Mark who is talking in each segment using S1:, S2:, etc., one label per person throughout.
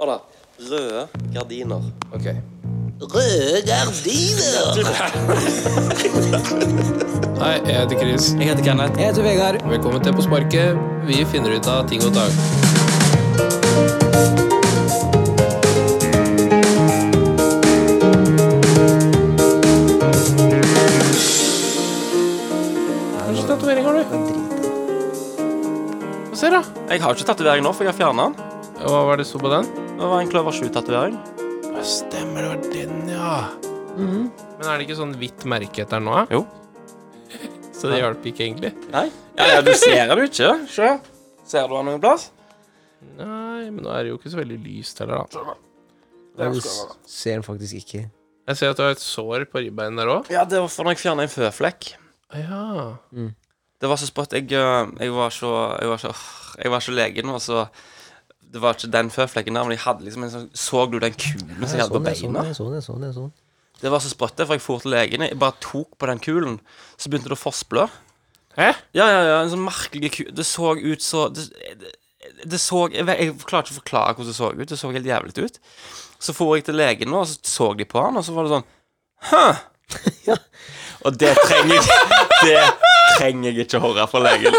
S1: Hør da. Røde gardiner.
S2: Ok.
S1: Røde gardiner!
S2: Hei, jeg heter Chris.
S1: Jeg heter Kenneth.
S3: Jeg heter Vegard.
S2: Velkommen til På sparket. Vi finner ut av ting og tang. Hvilken tatovering har du? Få se, da.
S1: Jeg har ikke tatovering nå, for jeg har fjerna den.
S2: Hva var det så på den?
S1: Det var en Kløver 7-tatovering.
S2: Ja, stemmer, det var den, ja. Men er det ikke sånn hvitt merke etter den nå? da?
S1: Jo.
S2: Så det hjalp ikke egentlig?
S1: Nei? Ja, ja, du ser det jo ikke. Se. Ser du den noen plass?
S2: Nei, men nå er det jo ikke så veldig lyst heller, da.
S1: Der skal
S3: Du
S1: den være.
S3: ser den faktisk ikke.
S2: Jeg ser at du har et sår på ribbeinen der òg.
S1: Ja, det var fordi jeg fjerna en føflekk.
S2: Ja.
S1: Det var så sprøtt. Jeg, øh, jeg var så Jeg var så, jeg var så legen, og så Det var ikke den føflekken der, men jeg hadde liksom en sånn Så du den kulen som jeg hadde på
S3: Jeg så den,
S1: beina?
S3: jeg så den, jeg så den, jeg så den.
S1: Det var så sprøtt, det, for jeg for til legen. Jeg bare tok på den kulen, så begynte det å fossblø.
S2: Hæ?
S1: Ja, ja, ja, en sånn merkelig ku... Det så ut så Det, det, det så jeg, vet- jeg klarer ikke å forklare hvordan det så ut. Det så helt jævlig ut. Så for jeg til legen, nå, og så så de på han, og så var det sånn Hæ? Og det trenger jeg Det trenger jeg ikke høre fra legen.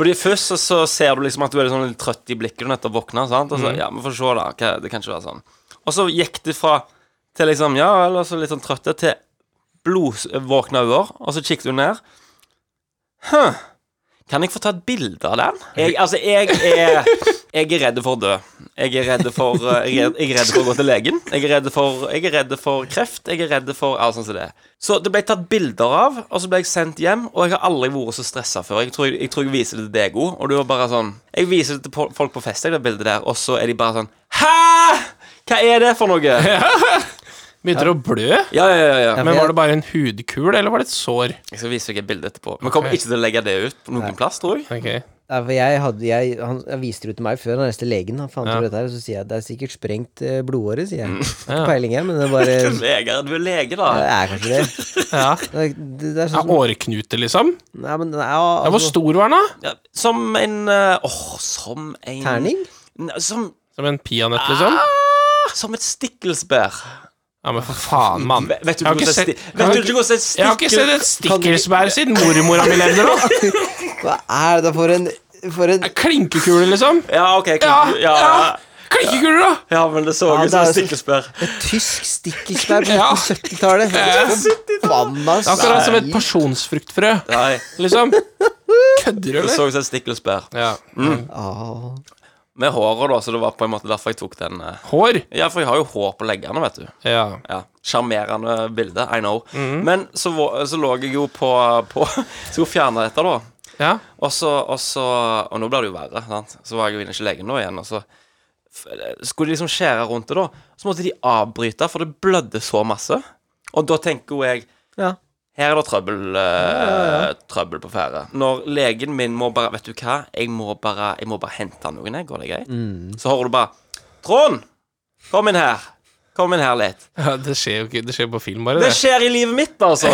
S1: Fordi først så, så ser du liksom at du er litt sånn litt trøtt i blikket når du nettopp våkner. sant? Og så, ja, men får se da, hva, Det kan ikke være sånn. Og så gikk det fra til liksom, ja, eller så litt sånn trøtte, til blodvåkne øyne, og så kikket hun ned. Hæ, kan jeg få ta et bilde av den? Jeg, altså, jeg er Jeg er redd for å dø. Jeg er redd for eh, Jeg er, jeg er redd for å gå til legen. Jeg er redd for, jeg er redd for kreft. Jeg er redd for alt sånt som det. Så det ble tatt bilder av, og så ble jeg sendt hjem, og jeg har aldri vært så stressa før. Jeg tror jeg, jeg tror jeg viser det til deg òg, og du var bare sånn Jeg viser det til po- folk på fest, jeg, det bildet der, og så er de bare sånn Hæ? Hva er det for noe?
S2: Begynte det å blø?
S1: Ja, ja, ja, ja.
S2: Men var det bare en hudkul, eller var det et sår?
S1: Jeg skal vise deg et bilde etterpå. Vi kommer
S2: Ok.
S1: ikke til å legge det ut på noen plass, tror jeg.
S2: Ok.
S3: Nei, for jeg hadde, jeg, han jeg viste det ut til meg før han reiste til legen. Han fant
S2: Ja. Mm.
S3: ut dette her, og så sier jeg det er sikkert sprengt eh, blodåre, sier jeg. Har
S2: Ja.
S3: Ikke peiling her, men det er bare
S1: Du er lege, du er lege, da.
S3: Det er kanskje det.
S2: Ja.
S3: Det er, det er
S2: Er
S3: sånn som
S2: åreknute, liksom?
S3: Nei, men ja,
S2: Ja, hvor
S3: altså,
S2: stor var den, da?
S1: Ja, som en eh, Åh, som en
S3: Terning?
S1: Nei, Som,
S2: Som en peanøtt, liksom?
S1: ah, som et stikkelsbær.
S2: Ja, men for faen, mann.
S1: Vet, vet du
S2: Jeg har
S1: ikke
S2: ikke
S1: hvordan
S2: sett-
S1: sti-
S2: jeg
S1: vet du ikke hvordan et
S2: har Jeg har ikke sett
S1: stikkel
S2: et stikkelsbær siden mormora mi levde nå.
S3: Hva er det for en For en
S2: Er Klinkekule, liksom.
S1: Ja, OK.
S2: Ja,
S1: klink-
S2: ja.
S1: ja, ja.
S2: Klinkekule, da!
S1: ja, men det så
S3: Ja,
S1: ut som et
S3: det er
S1: stikkelsbær.
S3: tysk stikkelsvær på
S2: Ja.
S3: 70-tallet. Forbanna
S2: Det er Akkurat som et
S3: sær.
S2: pasjonsfruktfrø,
S1: Nei,
S2: liksom. Kødder du,
S1: det
S2: eller?
S1: så ut som et stikkelsbær.
S2: Ja.
S3: Ah.
S1: Med håret, da, så det var på en måte derfor jeg tok den. eh.
S2: Hår?
S1: Ja, for jeg har jo hår på leggene, vet du.
S2: Ja.
S1: Ja, Sjarmerende bilde, I know.
S2: Mhm.
S1: Men så, vå- så lå jeg jo på, på Skulle fjerne dette, da.
S2: ja.
S1: Og så, og så Og nå blir det jo verre, sant? Så var jeg jo inne hos legen nå igjen, og så f- skulle de liksom skjære rundt det, da. Så måtte de avbryte, for det blødde så masse. Og da tenker jo jeg
S3: Ja.
S1: her er det trøbbel, eh, trøbbel på ferde. Når legen min må bare Vet du hva, jeg må bare, jeg må bare hente noen, jeg. Går det greit? Så hører du bare Trond! Kom inn her. Kom inn her litt.
S2: ja. Det skjer jo ikke Det skjer på film, bare,
S1: Det
S2: det.
S1: skjer i livet mitt, altså.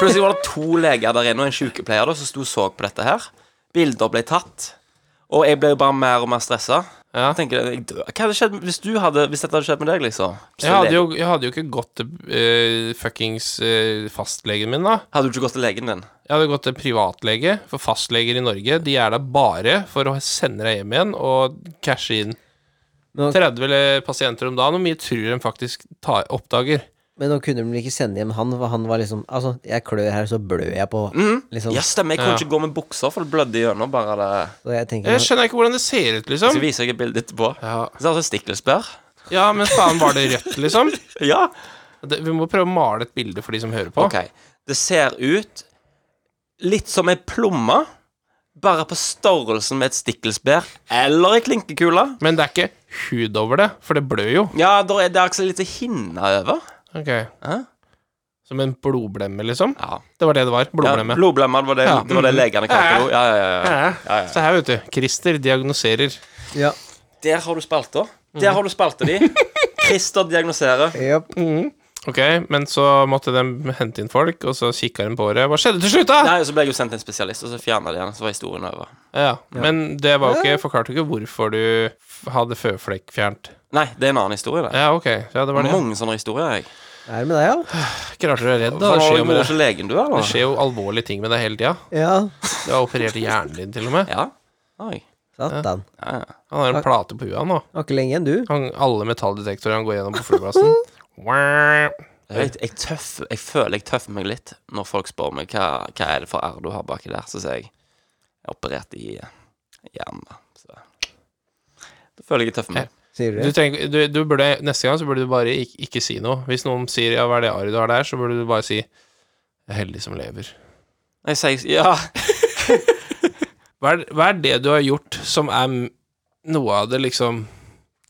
S1: Plutselig var det to leger der inne og en sykepleier da, som sto og så på dette her. Bilder ble tatt. Og jeg ble jo bare mer og mer stressa.
S2: Ja.
S1: Jeg tenker, jeg dør. Hva hadde skjedd hvis, du hadde, hvis dette hadde skjedd med deg, liksom? Hvis
S2: Jeg
S1: det
S2: hadde
S1: lege-
S2: jo, jeg hadde jo ikke gått til eh, fuckings eh, fastlegen min, da.
S1: hadde du ikke gått til legen din?
S2: Jeg hadde gått til privatlege, for fastleger i Norge De er der bare for å sende deg hjem igjen og cashe inn.
S3: Nå-
S2: 30 eller pasienter om dagen, hvor mye tror de faktisk tar, oppdager?
S3: Men nå kunne de vel ikke sende hjem han, for han var liksom Altså, jeg klør her, så blør jeg på
S2: Mm.
S1: Mm.
S3: liksom.
S1: Ja, stemmer. Jeg kunne
S2: Ja.
S1: ikke gå med bukser, for det blødde gjennom bare det.
S3: Så jeg tenker
S2: Jeg skjønner ikke hvordan det ser ut,
S1: Jeg
S2: liksom.
S1: skal vise deg et bilde etterpå.
S2: Ja,
S1: Så det er altså stikkelsbær.
S2: ja men faen, var det rødt, liksom?
S1: Ja.
S2: Det, vi må prøve å male et bilde for de som hører på.
S1: Ok. Det ser ut litt som ei plomme, bare på størrelsen med et stikkelsbær eller ei klinkekule.
S2: Men det er ikke hud over det, for det blør jo.
S1: Ja, der er, det altså er ikke så lite hinne over.
S2: Ok
S1: Hæ?
S2: Som en blodblemme, liksom.
S1: Ja.
S2: Det var det det var.
S1: Blodblemme.
S2: Blodblemme.
S1: Ja, blodblemme, det var det,
S2: Ja. Mm.
S1: det, var det legene kalte det. Ja, ja, ja, ja.
S2: Ja,
S1: Ja, ja.
S2: Se her, vet du. Christer diagnoserer.
S3: Ja.
S1: Der har du spalter. Der har du spalter di. Christer diagnoserer.
S3: Japp.
S2: Ok, men så måtte de hente inn folk, og så kikka de på det. Hva skjedde til slutt, da?
S1: Nei, og så ble jeg jo sendt til en spesialist, og så fjerna de den, så var historien over.
S2: Ja, Men det var jo ikke Forklarte jo ikke hvorfor du f- hadde føflekk fjernt.
S1: Nei, det er en annen historie, det.
S2: Ja, ok. Ja, det var det.
S1: Mange sånne historier, jeg.
S3: Er det med deg, ja?
S2: Ikke rart du er redd, da. Det
S1: Hvorfor
S2: skjer jo,
S1: går
S2: med
S1: ikke
S2: det.
S1: legen du er,
S2: det
S1: da?
S2: skjer jo alvorlige ting med deg hele tida.
S3: Ja.
S2: Du har operert i hjernen din, til og med.
S1: Ja. Oi.
S3: Satan.
S1: Ja, ja.
S2: Han har en plate på huet nå.
S3: Var ikke lenge igjen, du.
S2: Han, alle metalldetektorer han går gjennom på flyplassen. Wah.
S1: Jeg, jeg, tøff, jeg føler jeg tøffer meg litt når folk spør meg hva, hva er det for R du har baki der. Så sier jeg jeg er operert i i hjernen. da. Så da føler jeg jeg tøffer meg.
S3: Sier du
S2: Du
S3: det?
S2: trenger, du, du burde, neste gang så burde du bare ikke, ikke si noe. Hvis noen sier 'ja, hva er det arret du har der', så burde du bare si 'jeg er heldig som lever'.
S1: Jeg sier ja.
S2: Hva er, hva er det du har gjort som er m- noe av det liksom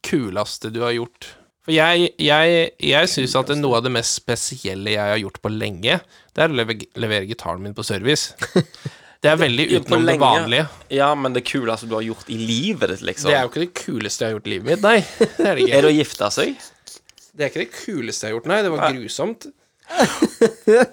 S2: kuleste du har gjort? For jeg, jeg, jeg syns at det er noe av det mest spesielle jeg har gjort på lenge, det er å leve, levere gitaren min på service. Det er veldig
S1: Ja, på
S2: utenom det
S1: lenge.
S2: vanlige.
S1: ja, men det kuleste du har gjort i livet ditt, liksom.
S2: Det er jo ikke det kuleste jeg har gjort i livet mitt, nei. Det er det ikke.
S1: Er det å gifte seg?
S2: Det er ikke det kuleste jeg har gjort, nei. Det var grusomt.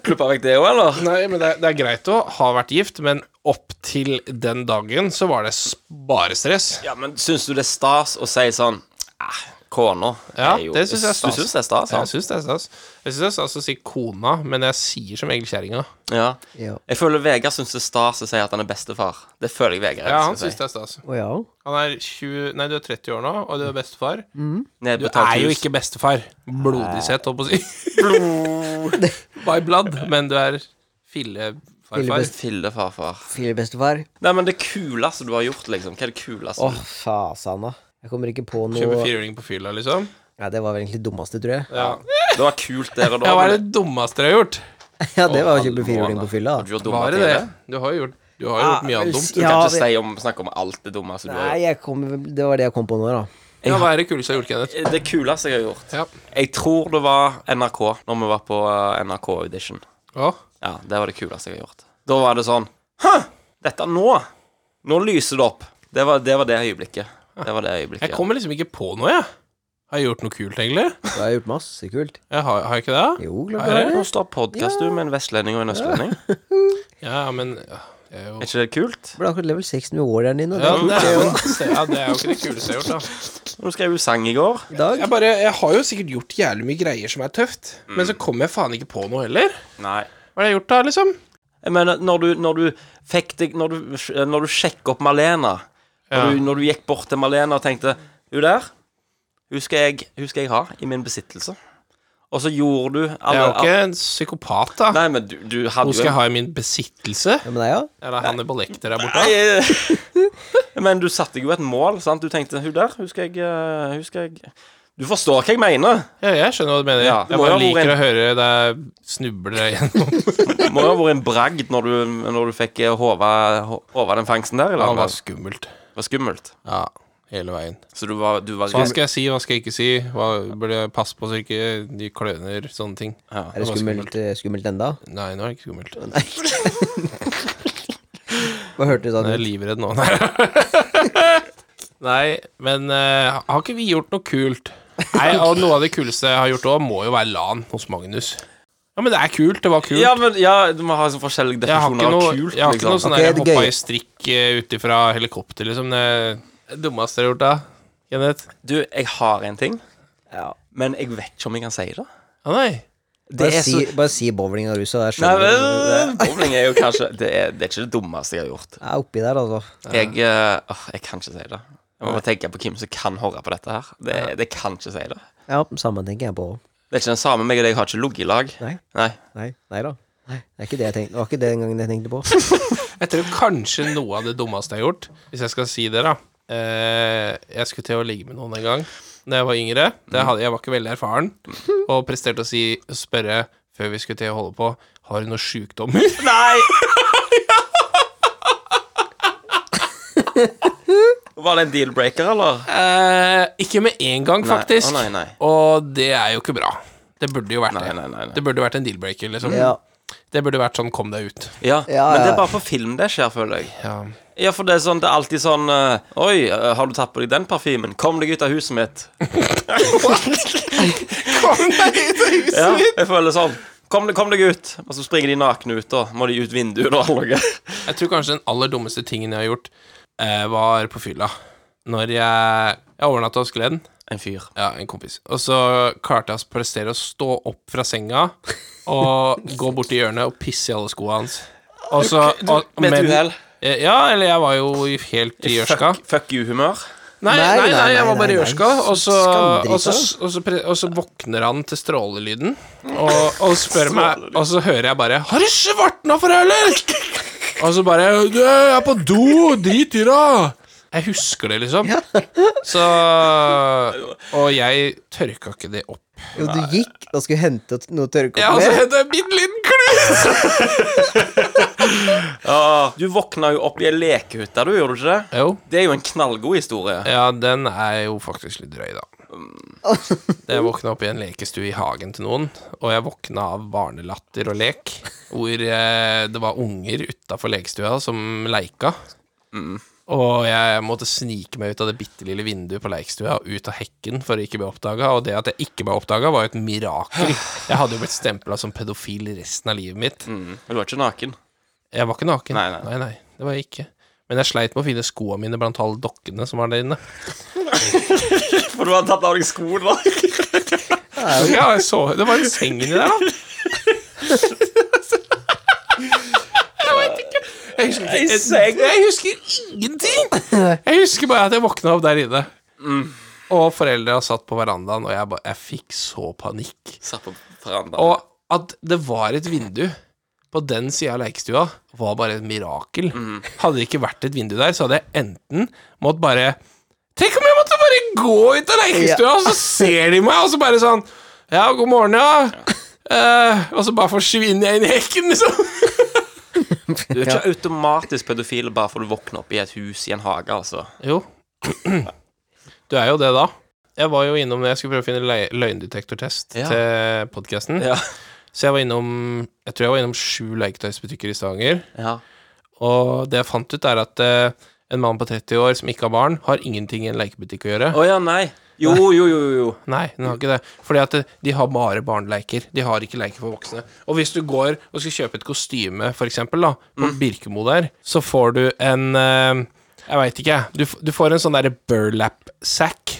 S1: Klippa vekk det òg, eller?
S2: Nei, men det er, det er greit å ha vært gift, men opp til den dagen så var det s- bare stress.
S1: Ja, men syns du det er stas å si sånn eh, Kona
S2: Ja,
S1: er jo-
S2: det syns jeg er
S1: Du
S2: stas.
S1: syns det er stas,
S2: Jeg
S1: altså?
S2: syns det er stas. Jeg syns det er stas å si kona, men jeg sier som regel kjerringa.
S1: Ja.
S3: Ja.
S1: Jeg føler Vegard syns det er stas å si at han er bestefar. Det føler jeg Vegard altså.
S2: Ja,
S1: elsker å
S2: han syns
S1: si.
S2: det er stas.
S3: Å ja.
S2: Han er 20 Nei, du er 30 år nå, og du er bestefar. Du
S1: Nedbetalt
S2: er jo
S1: hus.
S2: ikke bestefar. Blodig sett, holdt på å si. By blood, men du er fillefarfar.
S3: Fillebest-
S1: Fillefarfar.
S3: Filebestefar.
S1: Nei, men det kuleste du har gjort, liksom. Hva er det kuleste?
S3: Åh, fasan, da. Jeg kommer ikke på
S2: Kjøper
S3: noe
S2: firhjuling på fylla, liksom.
S3: Ja, det var vel egentlig det dummeste, tror jeg.
S2: Ja.
S1: Det var kult der og da.
S2: ja, hva er
S1: men
S2: det dummeste dere har gjort?
S3: Ja, det var
S1: Å,
S3: å kjøpe firhjuling
S1: alvorlig.
S3: på fylla,
S1: Har du
S3: da.
S1: gjort dumme
S2: Var det
S1: ting,
S2: det?
S1: eller?
S2: Du har jo gjort, du har jo gjort mye annet dumt.
S1: Du
S3: Ja,
S1: kan ikke
S3: vi-
S1: si om, snakke om alt det dumme som du har
S3: Nei,
S1: gjort.
S3: jeg kom, det var det jeg kom på nå, da.
S2: Ja, hva er det kuleste jeg har gjort, Kenneth?
S1: Det kuleste jeg har gjort
S2: Ja.
S1: Jeg tror det var NRK, når vi var på eh, NRK Audition.
S2: Å,
S1: Ja, det var det kuleste jeg har gjort. Da var det sånn Hæ! Dette nå! Nå lyser det opp. Det var det, var det øyeblikket. Det var det øyeblikket.
S2: jeg kommer liksom ikke på noe, jeg. Har jeg gjort noe kult, egentlig?
S3: Du har gjort masse kult.
S2: Jeg har, har jeg ikke det?
S3: Jo, klart
S2: Er
S3: det.
S2: det?
S1: Nå står podkast, du, med en vestlending og en østlending.
S2: Ja, men ja, jeg er jo
S1: Er ikke det kult?
S3: Du ble akkurat level 6 med warrieren din, og det
S2: ja,
S3: er
S2: det
S3: kult,
S2: er
S3: det
S2: jo,
S3: òg.
S2: ja, det er jo ikke det kuleste jeg har gjort, da.
S1: Du skrev jo sang i går.
S3: I dag.
S2: Jeg, bare, jeg har jo sikkert gjort jævlig mye greier som er tøft, men så kommer jeg faen ikke på noe heller.
S1: Nei.
S2: Hva har jeg gjort da, liksom?
S1: Jeg mener, når du, når du fikk deg Når du, når du sjekket opp Malena
S2: Ja.
S1: når, du, når du gikk bort til Malena og tenkte Hun der, hun skal jeg, hun skal jeg ha i min besittelse. Og så gjorde du
S2: Jeg
S1: alle,
S2: er jo ikke en psykopat, da.
S1: Nei, men du, du hadde
S2: Hun skal jeg ha i min besittelse.
S3: Ja, men det er ja.
S2: Eller Hannibal Lecter der borte.
S1: Nei, eh, men du satte jo et mål, sant? Du tenkte Hun der, hun skal jeg, eh, hun skal jeg Du forstår hva jeg mener.
S2: Ja, jeg skjønner hva du mener.
S1: Ja, du
S2: jeg
S1: må jo
S2: bare
S1: ha vært
S2: liker
S1: en-
S2: å høre deg snuble gjennom
S1: Det må jo ha vært en bragd når du, når du fikk eh, håva håva den fangsten der.
S2: Ja,
S1: Eller?
S2: det var skummelt.
S1: Det var skummelt.
S2: Ja, hele veien.
S1: Så du var, du var
S2: Hva skal jeg si, hva skal jeg ikke si? Hva burde jeg passe på så ikke de kløner sånne ting?
S1: Ja.
S3: Er det
S2: var
S3: skummelt, eh, skummelt enda?
S2: Nei, nå er det ikke skummelt.
S3: Hva hørte du sånn
S2: Jeg er
S3: ut?
S2: livredd nå. Nei, men eh, har ikke vi gjort noe kult? Nei, og noe av det kuleste jeg har gjort òg, må jo være LAN hos Magnus. Ja, men det er kult. Det var kult.
S1: Ja, men ja, du må ha sånn forskjellige
S2: jeg har ikke
S1: definisjoner av
S2: noe,
S1: kult. liksom.
S2: jeg har ikke noe sånn
S3: liksom. Ok,
S2: der jeg
S3: det
S2: hoppa
S3: gøy.
S2: i strikk eh, ut ifra helikopter, liksom. Det er det dummeste jeg har gjort da, Kenneth.
S1: Du, jeg har en ting,
S3: Ja.
S1: men jeg vet ikke om jeg kan si det.
S2: Å nei.
S1: Det
S3: Bare
S1: er så
S3: si, bare si bowling og rusa, der
S1: Nei,
S3: skjønner du.
S1: men eh, Bowling er jo kanskje det er, det er ikke det dummeste jeg har gjort.
S3: Jeg er oppi der, altså.
S1: Jeg, eh, åh, jeg kan ikke si det. Jeg må bare tenke på hvem som kan høre på dette her. Det, det kan ikke si det.
S3: Ja, samme tenker jeg på.
S1: Det er ikke den samme meg og deg har ikke ligget i lag.
S3: Nei.
S1: Nei.
S3: Nei, nei da. Nei, det er ikke det jeg tenkte. Det var ikke det den gangen jeg tenkte på.
S2: Jeg tror kanskje noe av det dummeste jeg har gjort, hvis jeg skal si det, da. Eh, jeg skulle til å ligge med noen en gang da jeg var yngre. Det hadde, jeg var ikke veldig erfaren, og presterte å si, spørre før vi skulle til å holde på Har du noen sjukdommer.
S1: Nei! Var det en deal-breaker, eller?
S2: Eh, ikke med en gang,
S1: Nei.
S2: faktisk.
S1: Å, nei, nei.
S2: Og det er jo ikke bra. Det burde jo vært
S1: Nei,
S2: det.
S1: nei, nei, nei.
S2: Det burde vært en deal-breaker, liksom.
S3: Ja.
S2: Det burde vært sånn 'kom deg ut'.
S1: Ja,
S3: Ja,
S1: men det
S3: ja.
S1: er bare på film det skjer, føler jeg.
S2: Ja.
S1: Ja, for det er sånn, det er alltid sånn eh, Oi, eh, har du tatt på deg den parfymen? Kom deg ut av huset mitt.
S2: Kom deg ut av huset!
S1: Ja, jeg føler sånn. Kom, deg- kom deg ut. Og så springer de nakne ut, og må de ut vinduet og alt noe.
S2: Jeg tror kanskje den aller dummeste tingen jeg har gjort, eh, var på fylla. Når jeg, jeg overnatta hos Glenn,
S1: En fyr.
S2: ja, en kompis, og så klarte jeg å prestere å stå opp fra senga og gå bort til hjørnet og pisse i alle skoene hans. Og så og-
S1: Med et
S2: men-
S1: uhell.
S2: Eh, Ja, eller jeg var jo i- helt i gjørska.
S1: Fuck, fuck you-humør.
S2: Nei, nei, nei, jeg var bare i
S3: nei, nei.
S2: gjørska, og så,
S3: Skamdrita.
S2: og, så, og, så, pre- og så våkner han til strålelyden, og, og spør meg, og så hører jeg bare 'Har du svartna for deg, eller?' Og så bare 'Du jeg er på do, drit i det'. Jeg husker det, liksom. Så Og jeg tørka ikke det opp.
S3: Jo, du gikk og skulle hente noe
S2: Ja,
S3: tørrkopp
S2: altså,
S3: med.
S2: det er bitte liten klut!
S1: Ja, du våkna jo opp i ei lekehytte, du, gjorde du ikke det?
S2: Jo.
S1: Det er jo en knallgod historie.
S2: Ja, den er jo faktisk litt drøy, da. Jeg våkna opp i en lekestue i hagen til noen, og jeg våkna av barnelatter og lek, hvor eh, det var unger utafor lekestua som leika.
S1: Mm.
S2: Og jeg måtte snike meg ut av det bitte lille vinduet på lekestua og ut av hekken for å ikke bli oppdaga, og det at jeg ikke ble oppdaga, var jo et mirakel. Jeg hadde jo blitt stempla som pedofil resten av livet mitt.
S1: Mm. Men du var ikke naken.
S2: Jeg var ikke naken.
S1: Nei, nei.
S2: nei, nei det var jeg ikke. Men jeg sleit med å finne skoa mine blant alle dokkene som var der inne.
S1: For du hadde tatt av deg skoene, da.
S2: Ja, jeg så Det var en seng inni der, da. Jeg vet ikke. Jeg husker, jeg, jeg husker ingenting! Jeg husker bare at jeg våkna opp der inne. Og foreldra satt på verandaen, og jeg, ba, jeg fikk så panikk.
S1: Satt på verandaen.
S2: Og at det var et vindu på den sida av lekestua, var bare et mirakel. Hadde det ikke vært et vindu der, så hadde jeg enten mått bare Tenk om jeg måtte bare gå ut av lekestua, og så ser de meg, og så bare sånn Ja, god morgen, ja. Eh, og så bare forsvinner jeg inn i hekken, liksom.
S1: Du er ikke automatisk pedofil bare for du våkner opp i et hus i en hage, altså.
S2: Jo. Du er jo det, da. Jeg var jo innom når jeg skulle prøve å finne lø- løgndetektortest
S1: Ja.
S2: til podkasten.
S1: Ja.
S2: Så jeg var innom Jeg tror jeg var innom sju leketøysbutikker i Stavanger.
S1: ja.
S2: Og det jeg fant ut, er at eh, en mann på 30 år som ikke har barn, har ingenting i en lekebutikk å gjøre.
S1: Å ja, nei. Jo, jo, jo, jo. jo.
S2: Nei, den har ikke det. Fordi at eh, de har bare barneleker. De har ikke leker for voksne. Og hvis du går og skal kjøpe et kostyme, for eksempel, da, på Birkemo der, så får du en eh, Jeg veit ikke, jeg. Du, f- du får en sånn derre burlap-sack.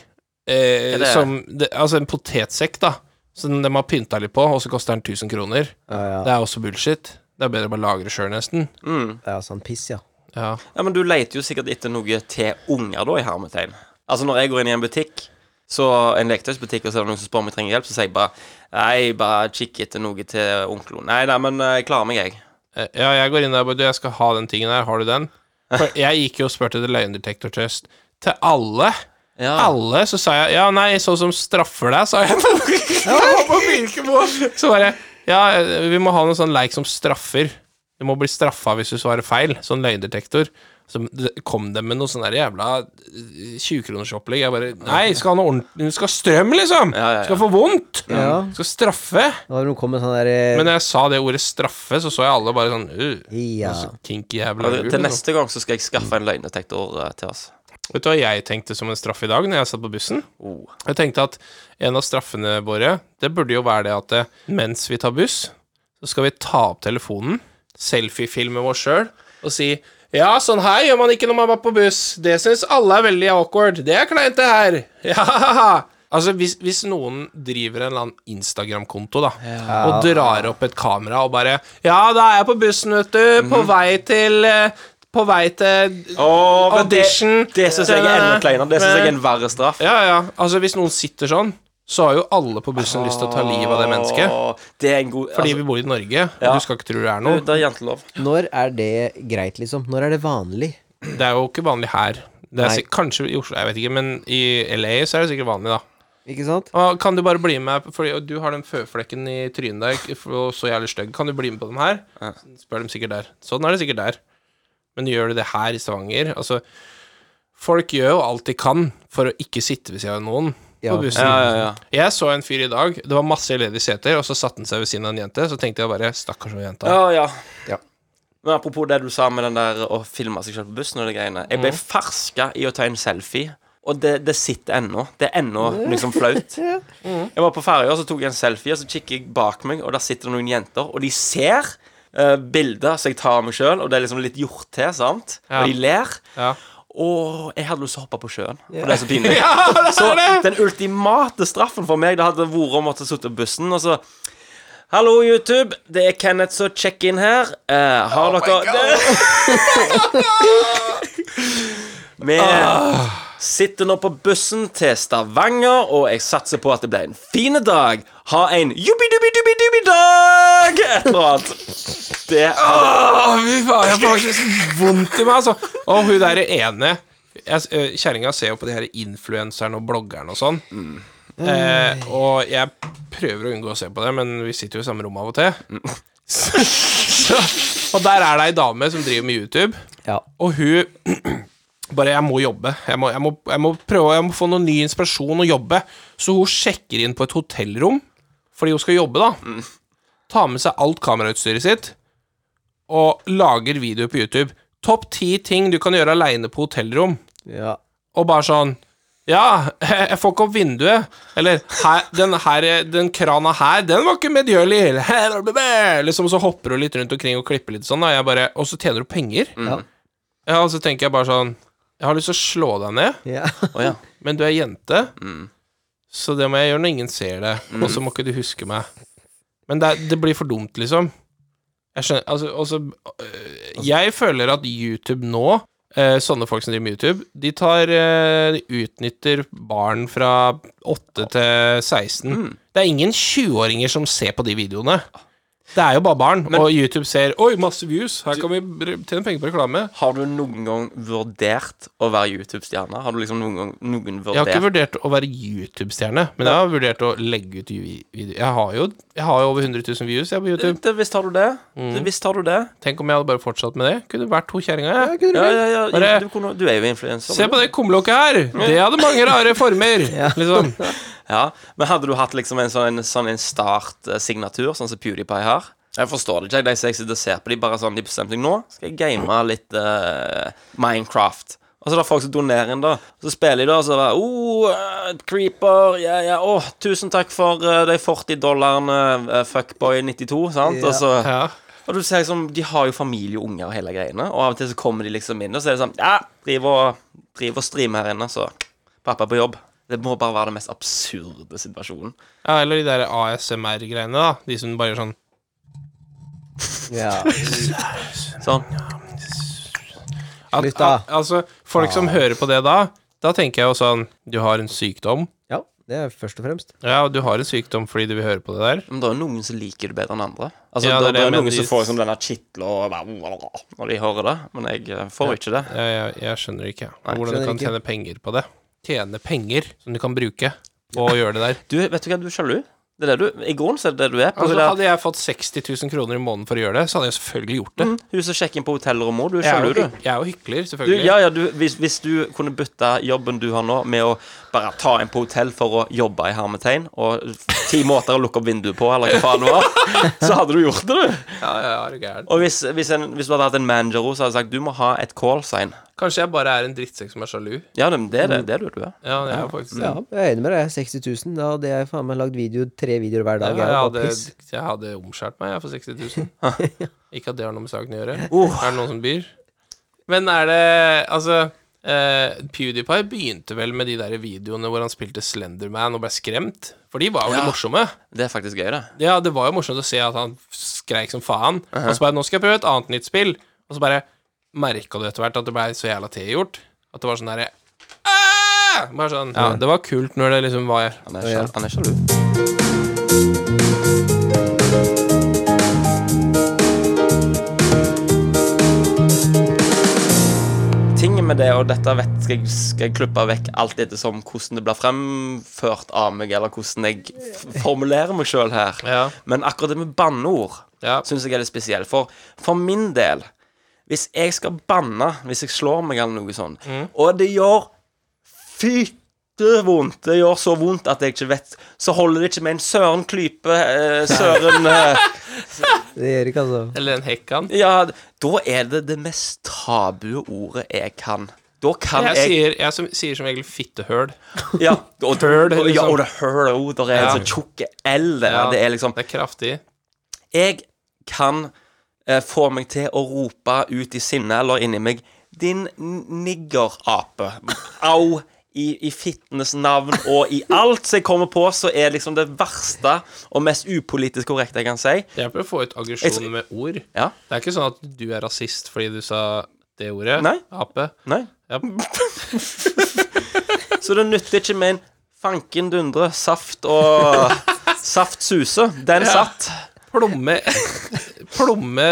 S2: Eh,
S1: det er-
S2: som det, Altså en potetsekk, da. Som de har pynta litt på, og så koster den 1000 kroner.
S3: Ja, ja.
S2: Det er også bullshit. Det er bedre å bare lagre sjøl, nesten.
S1: Mm.
S3: Det er sånn piss, ja.
S2: Ja.
S1: Ja, men du leter jo sikkert etter noe til unger, da, i hermetegn. Altså, når jeg går inn i en butikk, så en lektøysbutikk, og så er det noen som spør om jeg trenger hjelp, så sier jeg bare Nei, bare kikk etter noe til onkelen. Nei, nei, men eh, jeg klarer meg, jeg.
S2: Eh, Ja, jeg går inn der og bare Du, jeg skal ha den tingen her. Har du den? For jeg gikk jo og spurte til løgndetektortest til alle.
S1: Ja.
S2: Alle. Så sa jeg ja, nei, sånn som straffer deg, sa jeg. På Birkemo. så bare Ja, vi må ha noen sånn leik som straffer. Du må bli straffa hvis du svarer feil. Sånn løgndetektor. Så kom de med noe sånn der jævla 20-kronersopplegg. Jeg bare Nei, skal ha noe ordentlig Du skal ha strøm, liksom!
S1: Ja, ja, ja.
S2: Skal få vondt!
S3: Ja.
S2: Skal straffe!
S3: Nå har hun kommet med sånn der
S2: Men når jeg sa det ordet straffe, så så jeg alle bare sånn uh.
S3: eh, Ja.
S2: Så kinky jævla
S1: Og det-
S2: lur.
S1: Til
S2: liksom.
S1: neste gang så skal jeg skaffe en løgndetektor eh, til oss.
S2: Vet du hva jeg tenkte som en straff i dag når jeg satt på bussen?
S1: Oh.
S2: Jeg tenkte at en av straffene våre, det burde jo være det at eh, mens vi tar buss, så skal vi ta opp telefonen, selfiefilme oss sjøl og si ja, sånn her gjør man ikke når man er på buss. Det syns alle er veldig awkward. Det er kleint, det her. Ja. Altså, hvis, hvis noen driver en eller annen Instagram-konto, da, og drar opp et kamera og bare Ja, da er jeg på bussen, vet du. På vei til eh, På vei til Audition.
S1: Det, det syns jeg er enda kleinere. Det syns jeg er en verre straff.
S2: Ja, ja. Altså, hvis noen sitter sånn, så har jo alle på bussen lyst til å ta livet av det mennesket.
S1: Åh, Det er en god
S2: Fordi
S1: altså,
S2: vi bor i Norge,
S1: Ah. Ja.
S2: og du skal ikke tro det er
S1: du,
S2: noe.
S1: Det er jantelov.
S3: Når er det greit, liksom? Når er det vanlig?
S2: Det er jo ikke vanlig her. Det er
S3: Nei.
S2: sik- kanskje i Oslo, jeg vet ikke, men i LA så er det sikkert vanlig, da.
S3: Ikke sant?
S2: Og kan du bare bli med, fordi du har den føflekken i trynet der, ikke- for- og så jævlig stygg. Kan du bli med på den her?
S1: Ja.
S2: Spør dem sikkert der. Sånn er det sikkert der. Men gjør du det her i Stavanger? Altså, folk gjør jo alt de kan for å ikke sitte ved siden av noen.
S3: Ja.
S2: på bussen.
S1: Ja, ja, ja.
S2: Jeg så en fyr i dag, det var masse ledige seter, og så satte han seg ved siden av en jente. Så tenkte jeg bare Stakkars hun jenta.
S1: Ja, ja.
S3: Ja.
S1: Men apropos det du sa med den der å filme seg selv på bussen og de greiene. Jeg ble ferska i å ta en selfie, og det, det sitter ennå. Det er ennå liksom flaut. Jeg var på ferja, så tok jeg en selfie, og så kikker jeg bak meg, og der sitter det noen jenter, og de ser eh, bilder som jeg tar av meg sjøl, og det er liksom litt gjort til, sant?
S2: Ja.
S1: Og de ler.
S2: Ja.
S1: Og jeg hadde lyst til å hoppe på sjøen, for det er så pinlig. så den ultimate straffen for meg, det hadde vært å måtte sitte på bussen, og så Hallo, YouTube. Det er Kenneth som checker inn her. Eh, har dere Vi sitter nå på bussen til Stavanger, og jeg satser på at det ble en fin dag. Ha en jubbi-dubbi-dubbi-dubbi-dag! Et eller annet. Det
S2: Åh, fy faen, jeg får faktisk vondt i meg, altså. Og hun der ene jeg- eh, Kjerringa ser jo på de her influenserne og bloggerne og sånn.
S1: Mm.
S2: Eh, og jeg prøver å unngå å se på det, men vi sitter jo i samme rom av og til.
S1: Mm.
S2: Så, og der er det ei dame som driver med YouTube,
S3: Ja.
S2: og hun bare 'Jeg må jobbe. Jeg må, jeg må, jeg må prøve Jeg må få noe ny inspirasjon og jobbe.' Så hun sjekker inn på et hotellrom fordi hun skal jobbe, da. Tar med seg alt kamerautstyret sitt og lager video på YouTube. Topp ti ting du kan gjøre aleine på hotellrom.
S3: ja.
S2: Og bare sånn Ja, jeg får ikke opp vinduet. Eller her, den, her, den krana her, den var ikke medgjørlig. Eller, her er det bæ. Liksom, så hopper du litt rundt omkring og klipper litt sånn, da. Jeg bare, og så tjener du penger.
S3: Ja.
S2: Ja, og så tenker jeg bare sånn Jeg har lyst til å slå deg ned,
S3: ja.
S1: Å ja.
S2: men du er jente,
S1: Mm.
S2: så det må jeg gjøre når ingen ser det. Og så må ikke du huske meg. Men det, er- det blir for dumt, liksom. Jeg skjønner Altså, også, øh, Jeg føler at YouTube nå eh, sånne folk som driver med YouTube, de tar eh, De utnytter barn fra 8 til 16. Det er ingen 20-åringer som ser på de videoene. Det er jo bare barn, og YouTube ser 'Oi, masse views, her kan vi br- tjene penger på reklame'.
S1: Har du noen gang vurdert å være YouTube-stjerne? Har du liksom noen gang noen
S2: Jeg har
S1: vurdert
S2: ikke vurdert å være YouTube-stjerne, men jeg har vurdert å legge ut video. Jeg har jo, jeg har jo over 100 000 views jeg på
S1: det,
S2: YouTube.
S1: det, eh, Visst har du det? det visst har du det?
S2: Tenk om jeg hadde bare fortsatt med det. Kunne vært hun kjerringa, jeg.
S1: Ja, ja, ja.
S2: Bare-
S1: Mm. Du, kunne, du er jo influenser.
S2: Se
S1: du.
S2: på det kumlokket her! Det hadde mange rare former, liksom.
S1: Ja, Men hadde du hatt liksom en sånn, en sånn en start-signatur, sånn som PewDiePie har? Jeg forstår det ikke. De som jeg sitter og ser på, de bare sånn De bestemte seg nå skal jeg game litt eh, Minecraft. Og så er det folk som donerer inn, da. Så spiller de, da, og så bare oh, eh, Creeper. Ja, ja. Å, tusen takk for eh, de 40 dollarene, eh, Fuckboy92, sant? Og så
S2: Ja.
S1: Og du ser liksom, De har jo familie og unger og hele greiene, og av og til så kommer de liksom inn, og så er det sånn Ja, driv og, driv og stream her inne, så pappa er på jobb. Det må bare være den mest absurde situasjonen.
S2: ja, eller de der ASMR-greiene, da. De som bare gjør sånn
S3: ja.
S1: Sånn.
S2: at,
S3: Lytt da.
S2: at, Altså, folk som hører på det da, da tenker jeg jo sånn Du har en sykdom.
S3: ja. Det er først og fremst.
S2: Ja, og du har en sykdom fordi du vil høre på det der.
S1: Men det er jo noen som liker det bedre enn andre. Altså,
S2: Ja,
S1: det,
S2: det er det
S1: er
S2: jeg
S1: noen
S2: mener.
S1: som får liksom denne kitla og bare Når de hører det. Men jeg eh, får jo ikke det.
S2: Jeg, jeg, jeg skjønner ikke hvordan
S3: skjønner
S2: du kan
S3: ikke.
S2: tjene penger på det. Tjene penger som du kan bruke på å gjøre det der.
S1: Du, vet du hva, du er sjalu. Det er det du I grunnen så er det det du er. På
S2: Altså,
S1: det der-
S2: hadde jeg fått 60 000 kroner i måneden for å gjøre det, så hadde jeg selvfølgelig gjort det.
S1: Mm, hun som sjekker inn på hotellrommet, du er
S2: Jeg er
S1: sjalu,
S2: jo,
S1: du.
S2: hy- jeg er jo hykler,
S1: du
S2: selvfølgelig.
S1: ja, ja, du, hvis, hvis du kunne bytte jobben du har nå, med å bare ta inn på hotell for å jobbe i hermetegn, og ti måter å lukke opp vinduet på, eller hva faen det var, så hadde du gjort det, du.
S2: ja, ja, er du gæren.
S1: Og hvis, hvis, en, hvis du hadde hatt en manager også, så hadde jeg sagt du må ha et call sign.
S2: Kanskje jeg bare er en drittsekk som er sjalu.
S1: Ja, det, det er det, det er det du er.
S2: Ja, jeg er faktisk
S3: Ja, jeg er enig med deg. 60 000. Da hadde jeg faen meg lagd video tre videoer hver dag.
S2: Jeg, jeg,
S3: var
S2: hadde,
S3: piss.
S2: jeg hadde omskjært meg, jeg, for 60 000. Ikke at det har noe med saken å gjøre.
S1: Uh.
S2: Er det noen som byr? Men er det Altså, eh, PewDiePie begynte vel med de der videoene hvor han spilte Slenderman og ble skremt? For de var
S1: Ja.
S2: jo morsomme?
S1: Det er faktisk gøy, det.
S2: Ja, det var jo morsomt å se at han skreik som faen. Og så bare 'Nå skal jeg prøve et annet nytt spill'. Og så bare merka du etter hvert at det blei så jævla tilgjort. At det var sånn derre «Æ!» Bare sånn Ja, det var kult når det liksom var
S1: Han er,
S3: Ja, ja.
S1: sjal- han er sjalu. Tingen med det, og dette vet, skal, jeg, skal jeg klippe vekk alt ettersom hvordan det blir fremført av meg, eller hvordan jeg f- formulerer meg sjøl her.
S2: Ja.
S1: Men akkurat det med banneord
S2: Ja.
S1: syns jeg er litt spesielt. For for min del, hvis
S2: Mm.
S1: jeg skal banne, hvis jeg slår meg eller noe sånn, og det gjør fytti vondt. Det gjør så vondt at jeg ikke vet Så holder det ikke med en Søren Klype, eh, Søren eh,
S3: Det gjør ikke, altså.
S2: Eller en hekkan.
S1: Ja, da er det det mest tabu ordet jeg kan. Da kan
S2: Jeg
S1: jeg,
S2: sier, jeg som, sier som regel fittehøl.
S1: Ja, og,
S2: Høl,
S1: og, ja,
S2: liksom.
S1: og det hører jo Der er
S2: Ja.
S1: en sånn tjukk L der.
S2: Ja.
S1: Det er liksom
S2: Det er kraftig.
S1: Jeg kan eh, få meg til å rope ut i sinne eller inni meg Din n- niggerape. Au. I, I fittenes navn og i alt som jeg kommer på, så er liksom det verste og mest upolitisk korrekte jeg kan si.
S2: Det hjelper å få ut aggresjonen med ord.
S1: Ja.
S2: Det er ikke sånn at du er rasist fordi du sa det ordet.
S1: Nei.
S2: Ape.
S1: Nei.
S2: Ja.
S1: Så det nytter ikke med en fanken dundre, saft og Saft suse. Den
S2: Ja.
S1: satt.
S2: Plomme Plomme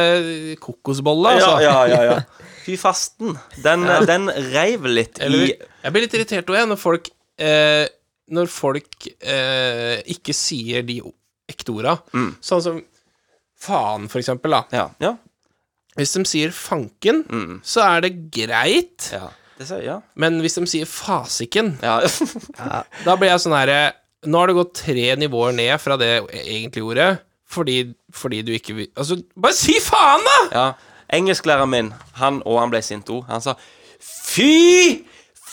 S2: kokosbolle, altså.
S1: Ja, ja, ja, ja. Fy fasten. Den, den reiv litt
S2: Eller,
S1: i
S2: jeg blir litt irritert òg, jeg, når folk eh, Når folk eh, ikke sier de o- ekte orda.
S1: Mm.
S2: Sånn som faen, for eksempel, da.
S1: Ja. ja.
S2: Hvis de sier fanken, så er det greit,
S1: Mm. ja. Det sier ja.
S2: men hvis de sier fasiken,
S1: ja.
S2: da blir jeg sånn herre Nå har det gått tre nivåer ned fra det egentlige ordet, fordi, fordi du ikke vil Altså, bare si faen, da!
S1: ja. Engelsklæreren min, han og han ble sint òg, han sa Fy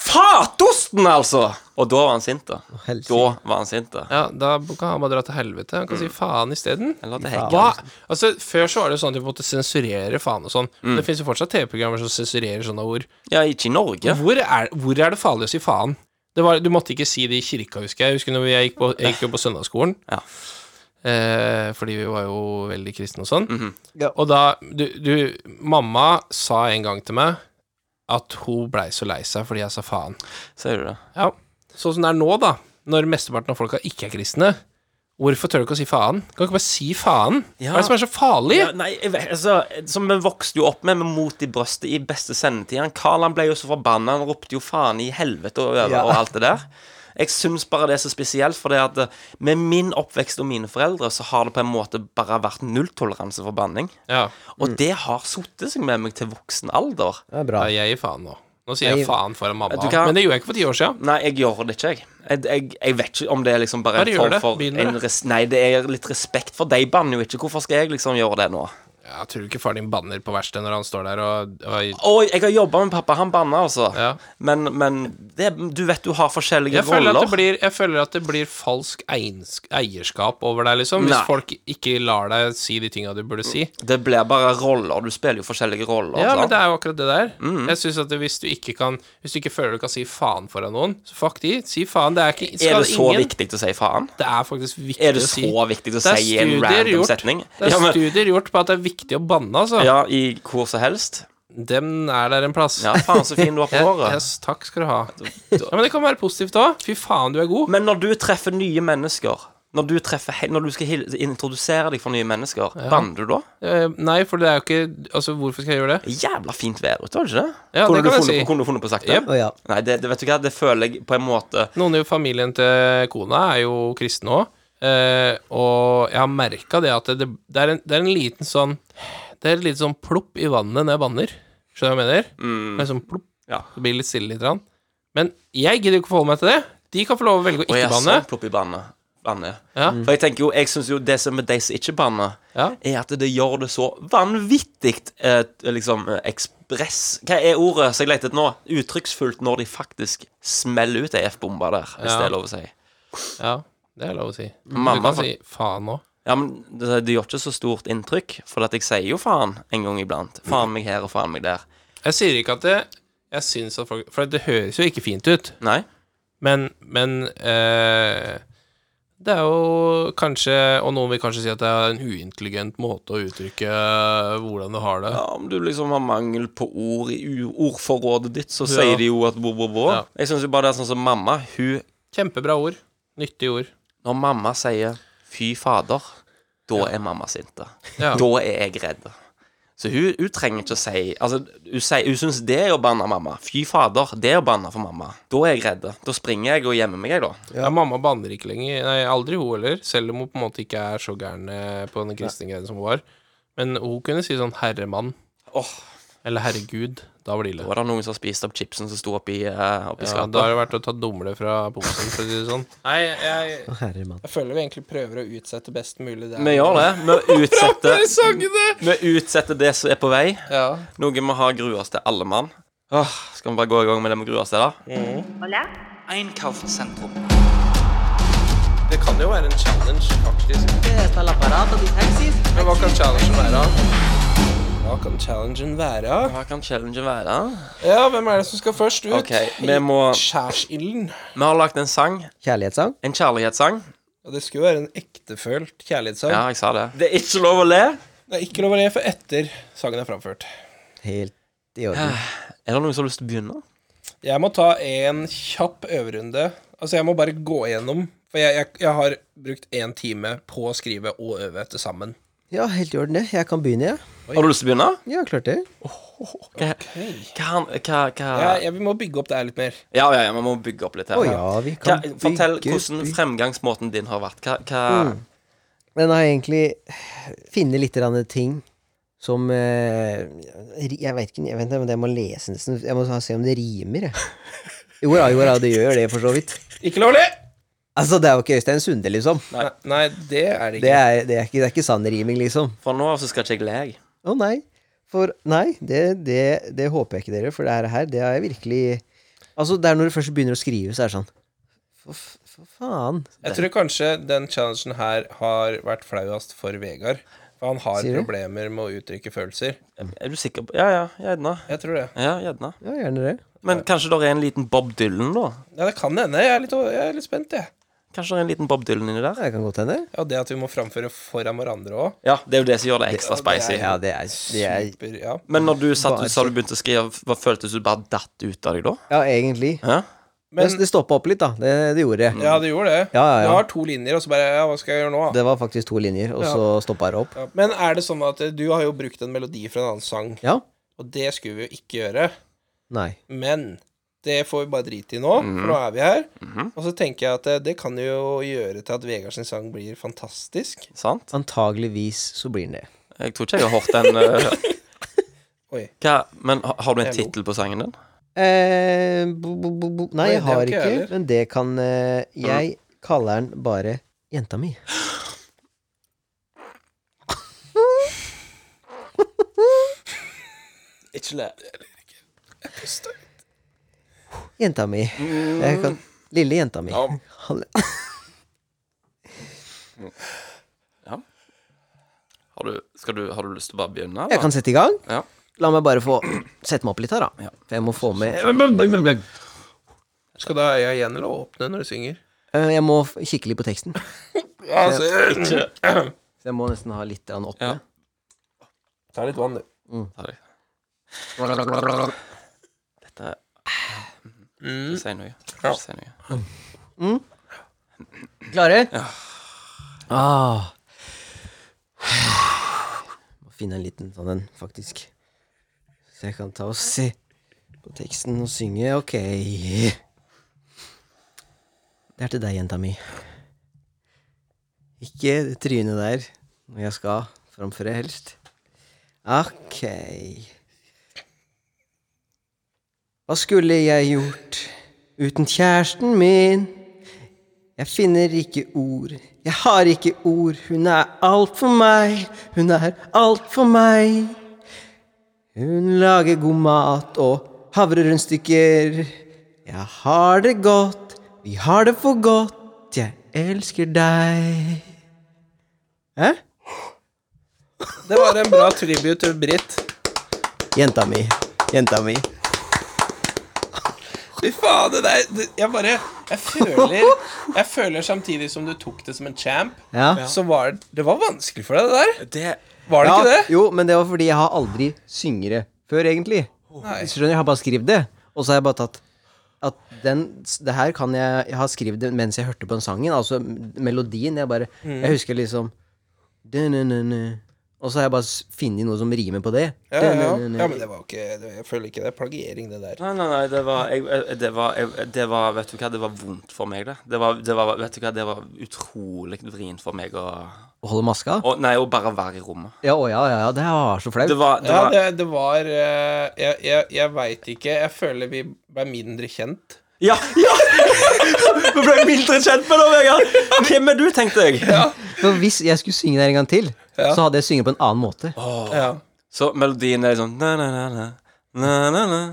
S1: fatosten, altså! Og da var han sint, da.
S3: helsike.
S1: Da var han sint, da.
S2: Ja, da kan han bare dra til helvete. Han kan si faen isteden.
S1: Eller til hekken.
S2: Hva? Altså, før så var det jo sånn at vi måtte sensurere faen og sånn. Det fins jo fortsatt TV-programmer som sensurerer sånne ord.
S1: Ja, ikke i Norge.
S2: Hvor, er, hvor er det farlig å si faen? Det var, du måtte ikke si det i kirka, husker jeg. Jeg husker når jeg gikk på, jeg gikk jo på søndagsskolen.
S1: Ja.
S2: Eh, fordi vi var jo veldig kristne og sånn.
S1: Mhm.
S3: Ja.
S2: Og da du, du Mamma sa en gang til meg at hun blei så lei seg fordi jeg sa faen.
S1: Sier du det?
S2: Ja, sånn som det er nå, da, når mesteparten av folka ikke er kristne, hvorfor tør du ikke å si faen? Kan du ikke bare si faen?
S1: Ja.
S2: Hva er det som er så farlig?
S1: Ja, nei, jeg vet, altså, som vi vokste jo opp med, med mot i brøstet i beste sendetid. Han Carl han ble jo så forbanna, han ropte jo faen i helvete og over
S3: Ja.
S1: og alt det der. Jeg syns bare det er så spesielt, for det at eh, med min oppvekst og mine foreldre, så har det på en måte bare vært nulltoleranse for banning.
S2: Ja.
S1: Og det har sittet seg med meg til voksen alder.
S3: Det er bra.
S2: ja, jeg gir faen nå. Nå sier jeg
S3: Jeg-
S2: faen foran mamma,
S1: Du kan-
S2: men det gjorde jeg ikke for ti år siden.
S1: Nei, jeg gjør det ikke, jeg. Jeg, jeg, jeg vet ikke om det er liksom bare
S2: Bare gjør det.
S1: en form
S2: Begynn
S1: for
S2: med
S1: en
S2: det.
S1: res Nei, det er litt respekt for deg, banner jo ikke. Hvorfor skal jeg liksom gjøre det nå?
S2: Jeg tror ikke faren din banner på verkstedet når han står der og, og
S1: Oi, jeg har jobba med pappa. Han banna, altså.
S2: Ja.
S1: Men, men det, du vet du har forskjellige
S2: jeg føler, at det
S1: roller.
S2: blir, jeg føler at det blir falsk eins- eierskap over deg, liksom, hvis
S1: Nei.
S2: folk ikke lar deg si de tinga du burde si.
S1: Det blir bare roller. Du spiller jo forskjellige roller.
S2: Ja,
S1: sant?
S2: men
S1: Mm.
S2: det er jo akkurat det der. Jeg synes at det, hvis du ikke kan Hvis du ikke føler du kan si faen foran noen, så fuck de. Si faen. Det er ikke skal
S1: er det så
S2: ingen,
S1: viktig å si faen?
S2: Det er faktisk viktig
S1: Er det
S2: å si.
S1: så viktig å
S2: Det er
S1: si i en
S2: studier
S1: random
S2: gjort.
S1: setning?
S2: Det er
S1: ja, men,
S2: studier gjort på at det er viktig å banne, altså.
S1: ja, i hvor som helst.
S2: Dem er der en plass.
S1: Ja, faen så fin du var på
S2: Jeg-
S1: håret.
S2: yes, takk skal du ha. Ja, men det kan være positivt òg. Fy faen, du er god.
S1: Men når du treffer nye mennesker når du, treffer, he- når du skal hil- introdusere deg for nye mennesker, banner du da?
S2: Eh, nei, for det er jo ikke Altså, hvorfor skal jeg gjøre det?
S1: Jævla fint vær ute, var det ikke det? kunne,
S2: Ja, det kan
S1: du
S2: jeg
S1: funnet,
S2: si.
S1: på- kunne du funnet på sagt det?
S2: Jep.
S3: Å ja.
S1: Nei, det, det, vet du hva, det føler jeg på en måte
S2: Noen i familien til kona er jo kristne òg, eh, og jeg har merka det at det, det, er en, det er en liten sånn Det er et lite sånn plopp i vannet når jeg banner. Skjønner du hva jeg mener? Det er sånn plopp,
S1: Mm. Ja.
S2: Det blir litt stille litt. Rann. Men jeg gidder jo ikke forholde meg til det. De kan få lov å velge å
S1: Og
S2: ikke
S1: jeg Mm.
S2: banne.
S1: sånn plopp i banne. banne.
S2: Ja.
S1: For jeg tenker jo, jeg syns jo det som er de som ikke banner,
S2: Ja.
S1: er at det gjør det så vanvittig eh, liksom eh, ekspress Hva er ordet som jeg leter etter nå? Uttrykksfullt når de faktisk smeller ut ei F-bombe der, hvis
S2: Ja.
S1: det er lov å si.
S2: ja, det er lov å si.
S1: Mamma
S2: du kan
S1: fa-
S2: si faen òg.
S1: Ja, men det, det gjør ikke så stort inntrykk, for at jeg sier jo faen en gang iblant. Faen meg her og faen meg der.
S2: Jeg sier ikke at det Jeg syns at folk For det høres jo ikke fint ut.
S1: Nei?
S2: Men, men eh, Det er jo kanskje Og noen vil kanskje si at det er en uintelligent måte å uttrykke hvordan du har det.
S1: Ja, om du liksom har mangel på ord i u- ordforrådet ditt, så
S2: Ja.
S1: sier de jo at bo, bo, bo.
S2: Ja.
S1: Jeg syns jo bare det er sånn som mamma. Hun
S2: Kjempebra ord. Nyttige ord.
S1: Når mamma sier 'fy fader', da er mamma sint. da.
S2: Ja.
S1: Da er jeg redd. Så hun, hun trenger ikke å si Altså, hun, sier- hun syns det er å banne mamma. Fy fader, det er å banne for mamma. Da er jeg redd. Da springer jeg og gjemmer meg, jeg, da.
S2: Ja, mamma banner ikke lenger. Nei, aldri hun heller. Selv om hun på en måte ikke er så gæren eh, på den kristne greia som hun var. Men hun kunne si sånn 'herremann'
S1: Åh,
S2: eller 'herregud'. Da var det ille.
S1: Da var det noen som har spist opp chipsen som sto oppi, eh, oppi
S2: Ja,
S1: skapet.
S2: da har det vært å ta dumle fra posen, for å si det sånn. Nei, jeg,
S3: Å, herre mann.
S2: jeg føler vi egentlig prøver å utsette best mulig det.
S1: Vi gjør det. Vi utsetter,
S2: sang det!
S1: vi utsetter det som er på vei.
S2: Ja.
S1: Noe vi har grua oss til, alle mann. Åh, skal vi bare gå i gang med det vi gruer oss til, da?
S4: Hola.
S5: Einkaufszentrum.
S2: Det kan jo være en challenge, faktisk.
S5: Está el aparato de taxis.
S2: Men hva kan challengen være? Hva kan challengen være?
S1: Hva kan challengen være?
S2: Ja, hvem er det som skal først ut?
S1: OK, vi må
S2: Skjærsilden.
S1: Vi har lagd en sang.
S3: Kjærlighetssang?
S1: En kjærlighetssang.
S2: Ja, det skulle jo være en ektefølt kjærlighetssang.
S1: Ja, jeg sa det. Det er ikke lov å le.
S2: Det er ikke lov å le for etter sangen er framført.
S3: Helt i orden.
S1: Er det noen som har lyst til å begynne?
S2: Jeg må ta en kjapp øverunde. Altså, jeg må bare gå igjennom. For jeg, jeg, jeg har brukt én time på å skrive og øve til sammen.
S3: Ja, helt i orden, det. Jeg kan begynne, jeg.
S1: Har du lyst til å begynne?
S3: Ja. ja, klart det.
S1: Hva, hva, han- hva, hva
S2: Jeg, jeg, vi må bygge opp det her litt mer.
S1: Ja, ja, ja, vi må bygge opp litt her.
S3: Å ja, vi
S1: Hva,
S3: kan
S1: fortell
S3: bygge,
S1: hvordan
S3: bygge.
S1: fremgangsmåten din har vært. Hva, hva
S3: Den har egentlig funnet litt grann ting som eh, ri- Jeg vet ikke, jeg vet ikke, men jeg må lese nesten. Jeg må se om det rimer, jeg. Jo da, jo da, det gjør det, for så vidt.
S2: Ikke lov å le!
S3: Altså, det er jo ikke Øystein Sunde, liksom.
S2: Nei. Nei, det er det
S3: Det
S2: ikke.
S3: er, det er ikke, det er ikke sann riming, liksom.
S1: Fra nå av så skal ikke jeg le. jeg.
S3: Å nei. For nei, det, det, det håper jeg ikke dere, for det her- her, det er virkelig Altså, det er når du først begynner å skrive, så er det sånn For, f- for faen.
S2: Jeg tror kanskje den challengen her har vært flauest for Vegard. For han har
S3: Sier du?
S2: problemer med å uttrykke følelser.
S1: Er du sikker på Ja, ja, gjerne.
S2: Jeg tror det.
S1: Ja, gjerne.
S3: Ja, gjerne det.
S1: Men kanskje det er en liten Bob Dylan, da?
S2: Ja, det kan hende. Jeg er litt, jeg er litt spent, jeg.
S1: Kanskje det er en liten Bob Dylan inni der?
S3: Ja, Det kan godt hende.
S2: Ja, det at vi må framføre foran hverandre òg.
S1: Ja, det er jo det som gjør det ekstra spicy.
S3: Ja, det er, det er
S2: Super, ja.
S1: Men når du satt
S3: Bare
S1: ut, sa du begynte å skrive, hva føltes du bare datt ut av deg da?
S3: Ja, egentlig.
S1: Hæ?
S3: Men,
S2: Men
S3: det stoppa opp litt, da. Det, det gjorde det.
S2: ja, det gjorde det.
S3: Ja, ja, ja.
S2: Du har to linjer, og så bare Ja, hva skal jeg gjøre nå? da?
S3: Det var faktisk to linjer, og så stoppa det opp.
S2: Ja. Men er det sånn at eh, du har jo brukt en melodi fra en annen sang,
S3: Ja?
S2: og det skulle vi jo ikke gjøre,
S3: Nei.
S2: men det får vi bare drite i nå,
S3: Mhm.
S2: for nå er vi her. Og så tenker jeg at eh, det kan jo gjøre til at Vegard sin sang blir fantastisk.
S1: Sant?
S3: Antageligvis så blir den det.
S1: Jeg tror ikke jeg har hørt den eh,
S2: Oi.
S1: hva, Men ha- har du en
S2: Hello.
S1: tittel på sangen din?
S3: Eh, bo, bo, bo, bo. Nei,
S2: Nei,
S3: jeg
S2: det har
S3: har
S2: ikke jeg
S3: ikke,
S2: heller.
S3: men det kan eh, Jeg kaller den bare Jenta mi.
S1: Ikke le.
S3: Jenta mi.
S2: Mm.
S3: Jeg kan, lille jenta mi. Hall-
S1: Har du, skal du, har du lyst til å bare begynne?
S3: Jeg kan sette i gang.
S1: Ja.
S3: La meg bare få sette meg opp litt her, da.
S1: Ja.
S3: For jeg må få med
S2: Skal da øya igjen, eller åpne når du synger?
S3: Eh, Jeg må f- kikke litt på teksten.
S2: Ja, altså
S3: Så jeg må nesten ha litt grann oppe.
S1: Ja.
S2: Ta litt vann, du.
S1: Ta det. Dette er
S2: Mm.
S1: Ikke Si noe. Ikke Si noe.
S3: Klare? Ja. Ah. Må finne en liten sånn en, faktisk. Så jeg kan ta og se på teksten og synge. Ok. Det er til deg, jenta mi. Ikke det trynet der når jeg skal framføre, helst. Ok. Hva skulle jeg gjort uten kjæresten min? Jeg finner ikke ord, jeg har ikke ord, hun er alt for meg, hun er alt for meg. Hun lager god mat og havrerundstykker. Jeg har det godt, vi har det for godt, jeg elsker deg. Hæ?
S2: Det var en bra tribute til Britt.
S3: Jenta mi, jenta mi.
S2: Fy faen, det der det, Jeg bare Jeg føler Jeg føler samtidig som du tok det som en champ,
S3: Ja.
S2: så var det Det var vanskelig for deg, det der.
S1: Det
S2: Var det
S3: Ja,
S2: ikke det?
S3: Jo, men det var fordi jeg har aldri syngere før, egentlig.
S2: Nei.
S3: Skjønner, jeg har bare skrevet det, og så har jeg bare tatt at den, det her kan jeg Jeg har skrevet det mens jeg hørte på den sangen, altså m- melodien. Jeg bare Jeg husker liksom du-nu-nu-nu, Og så har jeg bare s- funnet noe som rimer på det.
S4: Ja, ja, ja. ja, men det var jo ikke det- Jeg føler ikke det er plagiering, det der.
S1: Nei, nei, nei, det var, jeg, jeg- det var, jeg, eh, det var Vet du hva, det var vondt for meg, det. Det var, det var, vet du hva, det var utrolig vrient for meg å
S3: Å holde maska?
S1: å- Nei, å bare være i rommet.
S3: Ja, å, ja, ja, ja, det var så flaut.
S1: Det var, det
S2: Ja,
S1: var
S2: det, det var eh, Jeg, jeg, jeg veit ikke. Jeg føler vi ble mindre kjent.
S1: Ja! ja! Vi ble mildere kjent med deg, Vegard. Hvem er du, tenkte jeg.
S3: For hvis jeg skulle synge der en gang til, så hadde jeg synget på en annen måte.
S2: Ja.
S1: Så melodien er sånn na-na-na-na, na-na-na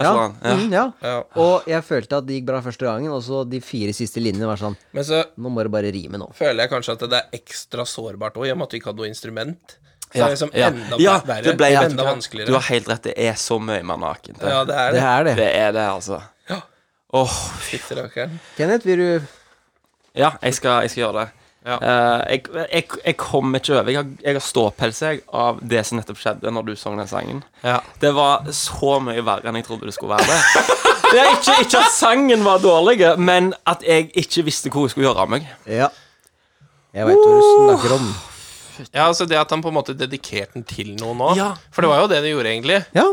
S1: Et
S3: ja.
S1: eller annet. sånn, Ja.
S3: Mm, ja.
S2: Ja.
S3: Og jeg følte at det gikk bra første gangen, og så de fire siste linjene var sånn
S2: Men så
S3: Nå må det bare rime nå.
S2: føler jeg kanskje at det er ekstra sårbart òg, i og med at vi ikke hadde noe instrument. Så
S1: Ja,
S2: det er liksom
S1: ja.
S2: enda
S1: Ja,
S2: verre.
S1: det ble-
S2: enda
S1: Du
S2: vanskeligere.
S1: har helt rett, det er så mye mer naken. Det,
S2: Ja, det er
S3: Det
S2: det.
S3: er det.
S1: det er det, altså.
S2: Ja.
S1: Åh,
S2: Fytti rakkeren.
S3: Kenneth, vil du
S1: Ja, jeg skal, jeg skal gjøre det.
S2: Ja.
S1: Eh, jeg, jeg, jeg kom ikke over. Jeg har, jeg har ståpels jeg, av det som nettopp skjedde når du sang den sangen.
S2: Ja.
S1: Det var så mye verre enn jeg trodde det skulle være. det. Det er ikke, ikke at sangen var dårlig, men at jeg ikke visste hvor jeg skulle gjøre av meg.
S3: Ja. Jeg veit hva du snakker om.
S2: ja, altså det at han på en måte dedikerte den til noen nå
S1: Ja.
S2: For det var jo det det gjorde, egentlig.
S3: Ja.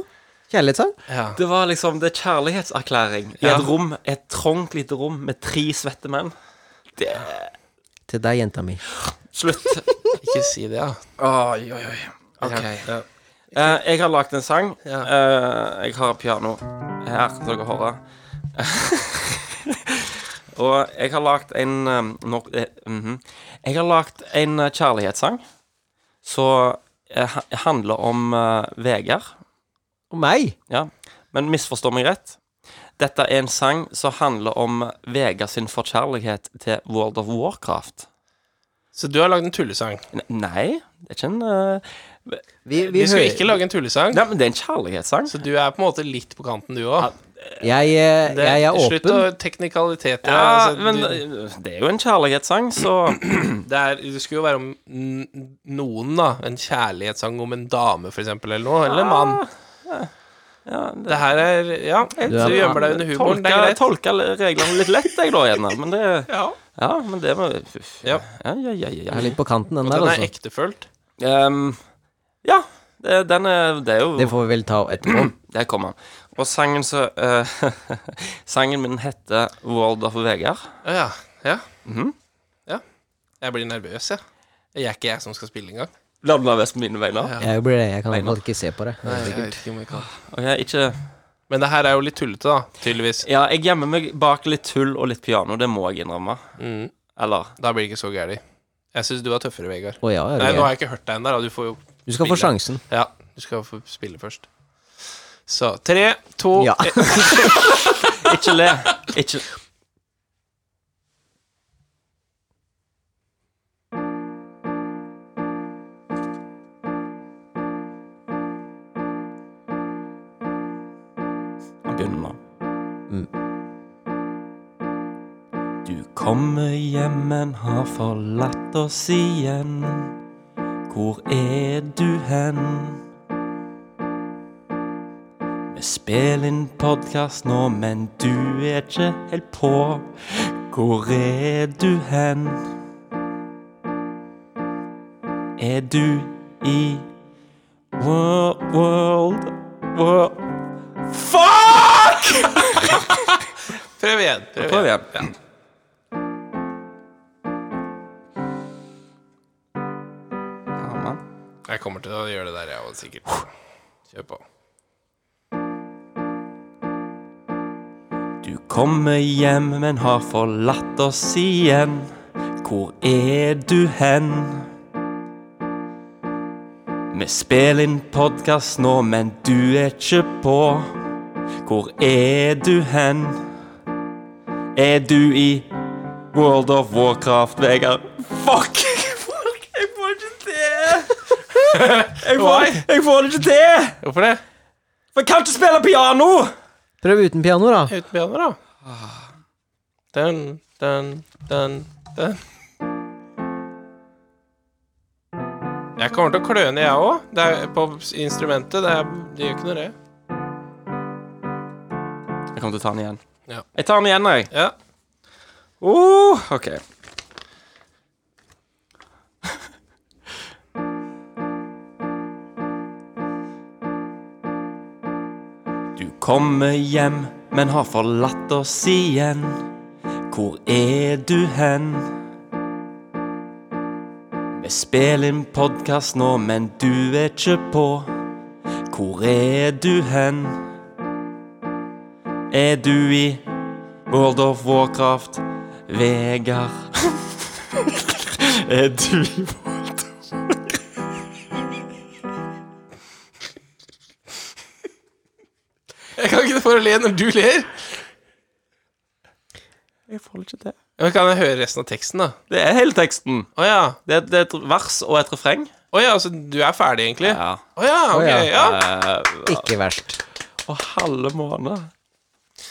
S3: Kjærlighetssang.
S2: Ja.
S1: Det var liksom det er kjærlighetserklæring i
S2: Ja.
S1: et rom, et trangt lite rom med tre svette menn. Det
S3: Til deg, jenta mi.
S1: Slutt.
S2: Ikke si det, ja.
S1: Oi, oi, oi. Ok.
S2: Ja.
S1: Eh, jeg har lagd en sang.
S2: Ja.
S1: Eh, jeg har piano her, som dere hører. Og jeg har lagd en um, nor- eh, mhm. Jeg har lagd en eh, kjærlighetssang som eh, ha- handler om eh, Vegard.
S3: Og meg.
S1: Ja, men misforstå meg rett. Dette er en sang som handler om eh, Vegard sin forkjærlighet til World of Warcraft.
S2: Så du har lagd en tullesang.
S1: N- Nei, det er ikke en eh,
S3: Vi, vi
S2: Vi skal
S3: hører
S2: ikke lage en tullesang,
S1: Nei, men det er en kjærlighetssang.
S2: så du er på en måte litt på kanten, du òg.
S3: Jeg, eh, jeg er
S2: Slutt å
S3: åpen.
S2: teknikaliteter.
S1: Ja,
S2: altså,
S1: men
S2: du,
S1: eh, det er jo en kjærlighetssang, så
S2: det, er, det skulle jo være om n- noen, da. En kjærlighetssang om en dame, for eksempel, eller noe. Eller en mann.
S1: ja, det-
S2: Det her er Ja,
S1: jeg-
S2: du gjemmer deg under humoren. Det er greit.
S1: Tolka tolka reglene litt lett, jeg, da, gjerne. Men det
S2: Ja.
S1: Ja, men det må uff.
S2: Ja.
S1: ja, ja, ja, ja.
S3: Jeg er litt på kanten, den
S2: Og
S3: der,
S2: den er
S3: altså.
S2: ektefølt.
S1: Ehm, ja det, den er Det er jo
S3: Det får vi vel ta etterpå.
S1: Der kom han. Og sangen så eh, Sangen min heter World of Vegard.
S2: Å ja. Ja. Mhm. ja. Jeg blir nervøs, jeg. Det er ikke jeg som skal spille engang.
S1: La den være best på mine vegne.
S3: Jeg blir det. Jeg kan i hvert fall ikke se på det.
S2: Jeg vet ikke om jeg kan.
S1: Ok, ikke
S2: Men det her er jo litt tullete, da. Tydeligvis.
S1: Ja, jeg gjemmer meg bak litt tull og litt piano, det må jeg innrømme.
S2: Mm.
S1: Eller
S2: Da blir det ikke så gærent. Jeg syns du er tøffere, Vegard.
S3: Å ja,
S2: Nei, nå
S3: jeg vil.
S2: har jeg ikke hørt deg ennå. da. Du får jo
S3: Du skal få
S2: spille.
S3: sjansen.
S2: Ja, du skal få spille først. Så tre, to
S3: Ja.
S2: eh,
S1: Ikke le. Ikke Han begynner nå. Du kommer hjem, men har forlatt oss igjen. Hvor er du hen? Vi spiller inn podkast nå, men du er ikke helt på. Hvor er du hen? Er du i world, world, world Fuck!
S2: Prøv igjen. Prøv
S1: Prøv
S2: igjen.
S1: igjen. Ja, mann.
S2: Jeg kommer til å gjøre det der, jeg òg, sikkert. Kjør på.
S1: Du kommer hjem, men har forlatt oss igjen. Hvor er du hen? Vi spiller inn podkast nå, men du er ikke på. Hvor er du hen? Er du i World of Warcraft, Vegard? Fuck! Folk, jeg får det ikke til! Jeg får, jeg får det ikke til!
S2: Hvorfor det?
S1: For jeg kan ikke spille piano!
S3: Prøv uten piano, da.
S2: Uten piano, da. Den, den, den, den. Jeg kommer til å kløne, jeg òg. Det er på instrumentet. Det, er, det gjør ikke noe, det.
S1: Jeg kommer til å ta den igjen.
S2: Ja.
S1: Jeg tar den igjen, jeg.
S2: Ja.
S1: Oh, ok. kommet hjem, men har forlatt oss igjen. Hvor er du hen? Vi spiller inn podkast nå, men du er ikke på. Hvor er du hen? Er du i World of Warcraft, Vegard? er du i
S2: Jeg kan ikke få å le når du ler.
S1: Jeg får ikke til.
S2: Men kan jeg høre resten av teksten, da?
S1: Det er hele teksten.
S2: Å ja.
S1: Det er, det er et vers og et refreng.
S2: Å ja, så du er ferdig, egentlig?
S1: Ja.
S2: Å ja, ok.
S3: ja.
S2: ja.
S3: Ikke verst.
S1: Og halve måned.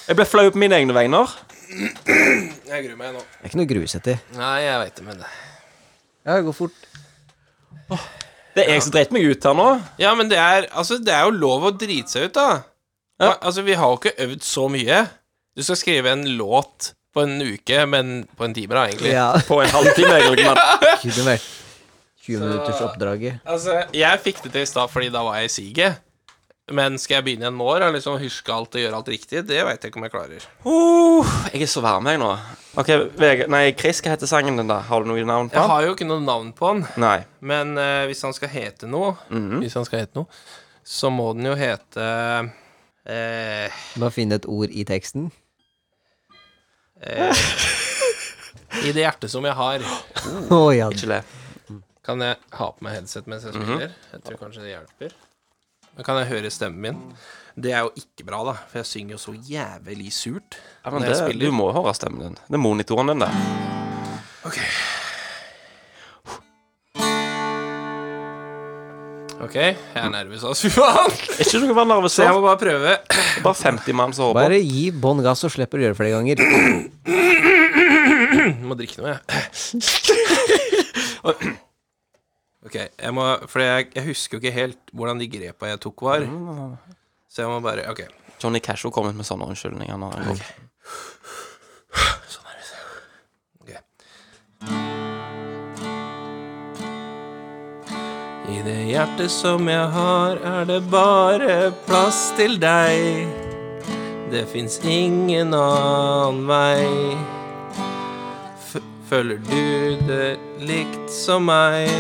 S1: Jeg ble flau på mine egne vegner.
S2: Jeg gruer meg nå.
S3: Det er ikke noe grusete.
S2: Nei, jeg veit det, men det
S3: Ja, gå fort.
S1: Det er jeg som dreit meg ut her nå.
S2: Ja, men det er, altså, det er jo lov å drite seg ut, da.
S1: Ja.
S2: Hva- Altså, vi har jo ikke øvd så mye. Du skal skrive en låt på en uke, men på en time, da, egentlig.
S3: Ja.
S1: På en halvtime, egentlig. Men
S3: Kunne vært 20 minutters oppdraget.
S2: Altså, jeg fikk det til i stad fordi da var jeg i siget. Men skal jeg begynne igjen nå og liksom huske alt og gjøre alt riktig? Det veit jeg ikke om jeg klarer.
S1: uh, jeg er så varm, jeg nå. Ok, Vegard Nei, Chris, hva heter sangen din, da? Har du noe navn på
S2: Jeg
S1: den?
S2: har jo ikke noe navn på den,
S1: Nei.
S2: men eh, hvis han skal hete noe, Hvis han skal hete noe, så må den jo hete eh,
S3: Bare finne et ord i teksten.
S2: eh, I det hjertet som jeg har.
S3: Å ja.
S1: Ikke le.
S2: Kan jeg ha på meg headset mens jeg spiller? Jeg tror kanskje det hjelper. Men kan jeg høre stemmen min? Det er jo ikke bra, da, for jeg synger jo så jævlig surt
S1: Ja, men
S2: når jeg
S1: det,
S2: spiller.
S1: du må høre stemmen din. Det er monitoren din, det.
S2: Ok, jeg er nervøs, altså. Fy faen!
S1: Er ikke du bare nervøs?
S2: Så jeg må bare prøve.
S1: Det er Bare 50 mann som håper.
S3: Bare gi bånn gass og slipper å gjøre det flere ganger.
S2: Jeg må drikke noe, jeg. Ok, jeg må For jeg, jeg husker jo ikke helt hvordan de grepa jeg tok, var. Så jeg må bare Ok.
S1: Johnny Casho kom ut med sånne unnskyldninger. Nå.
S2: I det hjertet som jeg har, er det bare plass til deg. Det fins ingen annen vei. F føler du det likt som meg?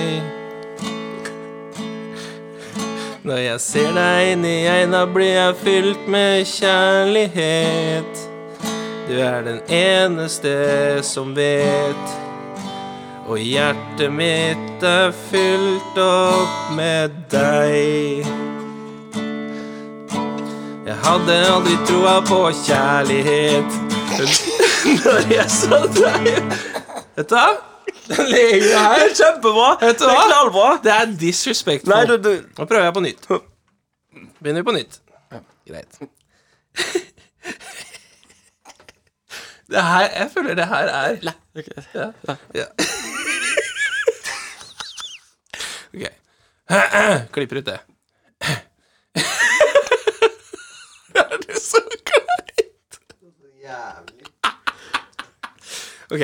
S2: Når jeg ser deg inn i øynene, blir jeg fylt med kjærlighet. Du er den eneste som vet. Og hjertet mitt er fylt opp med deg. Jeg hadde aldri troa på kjærlighet når jeg så deg. Vet du hva? Den legen her
S1: Kjempebra!
S2: Vet du
S1: Det er
S2: hva?
S1: knallbra.
S2: Det er disrespectful.
S1: Nei, du, du
S2: Nå prøver jeg på nytt. Begynner vi på nytt. Greit. Det her, jeg føler det her er Ja. Ja. Ok. Klipper ut det. Er det så kleint? Ok.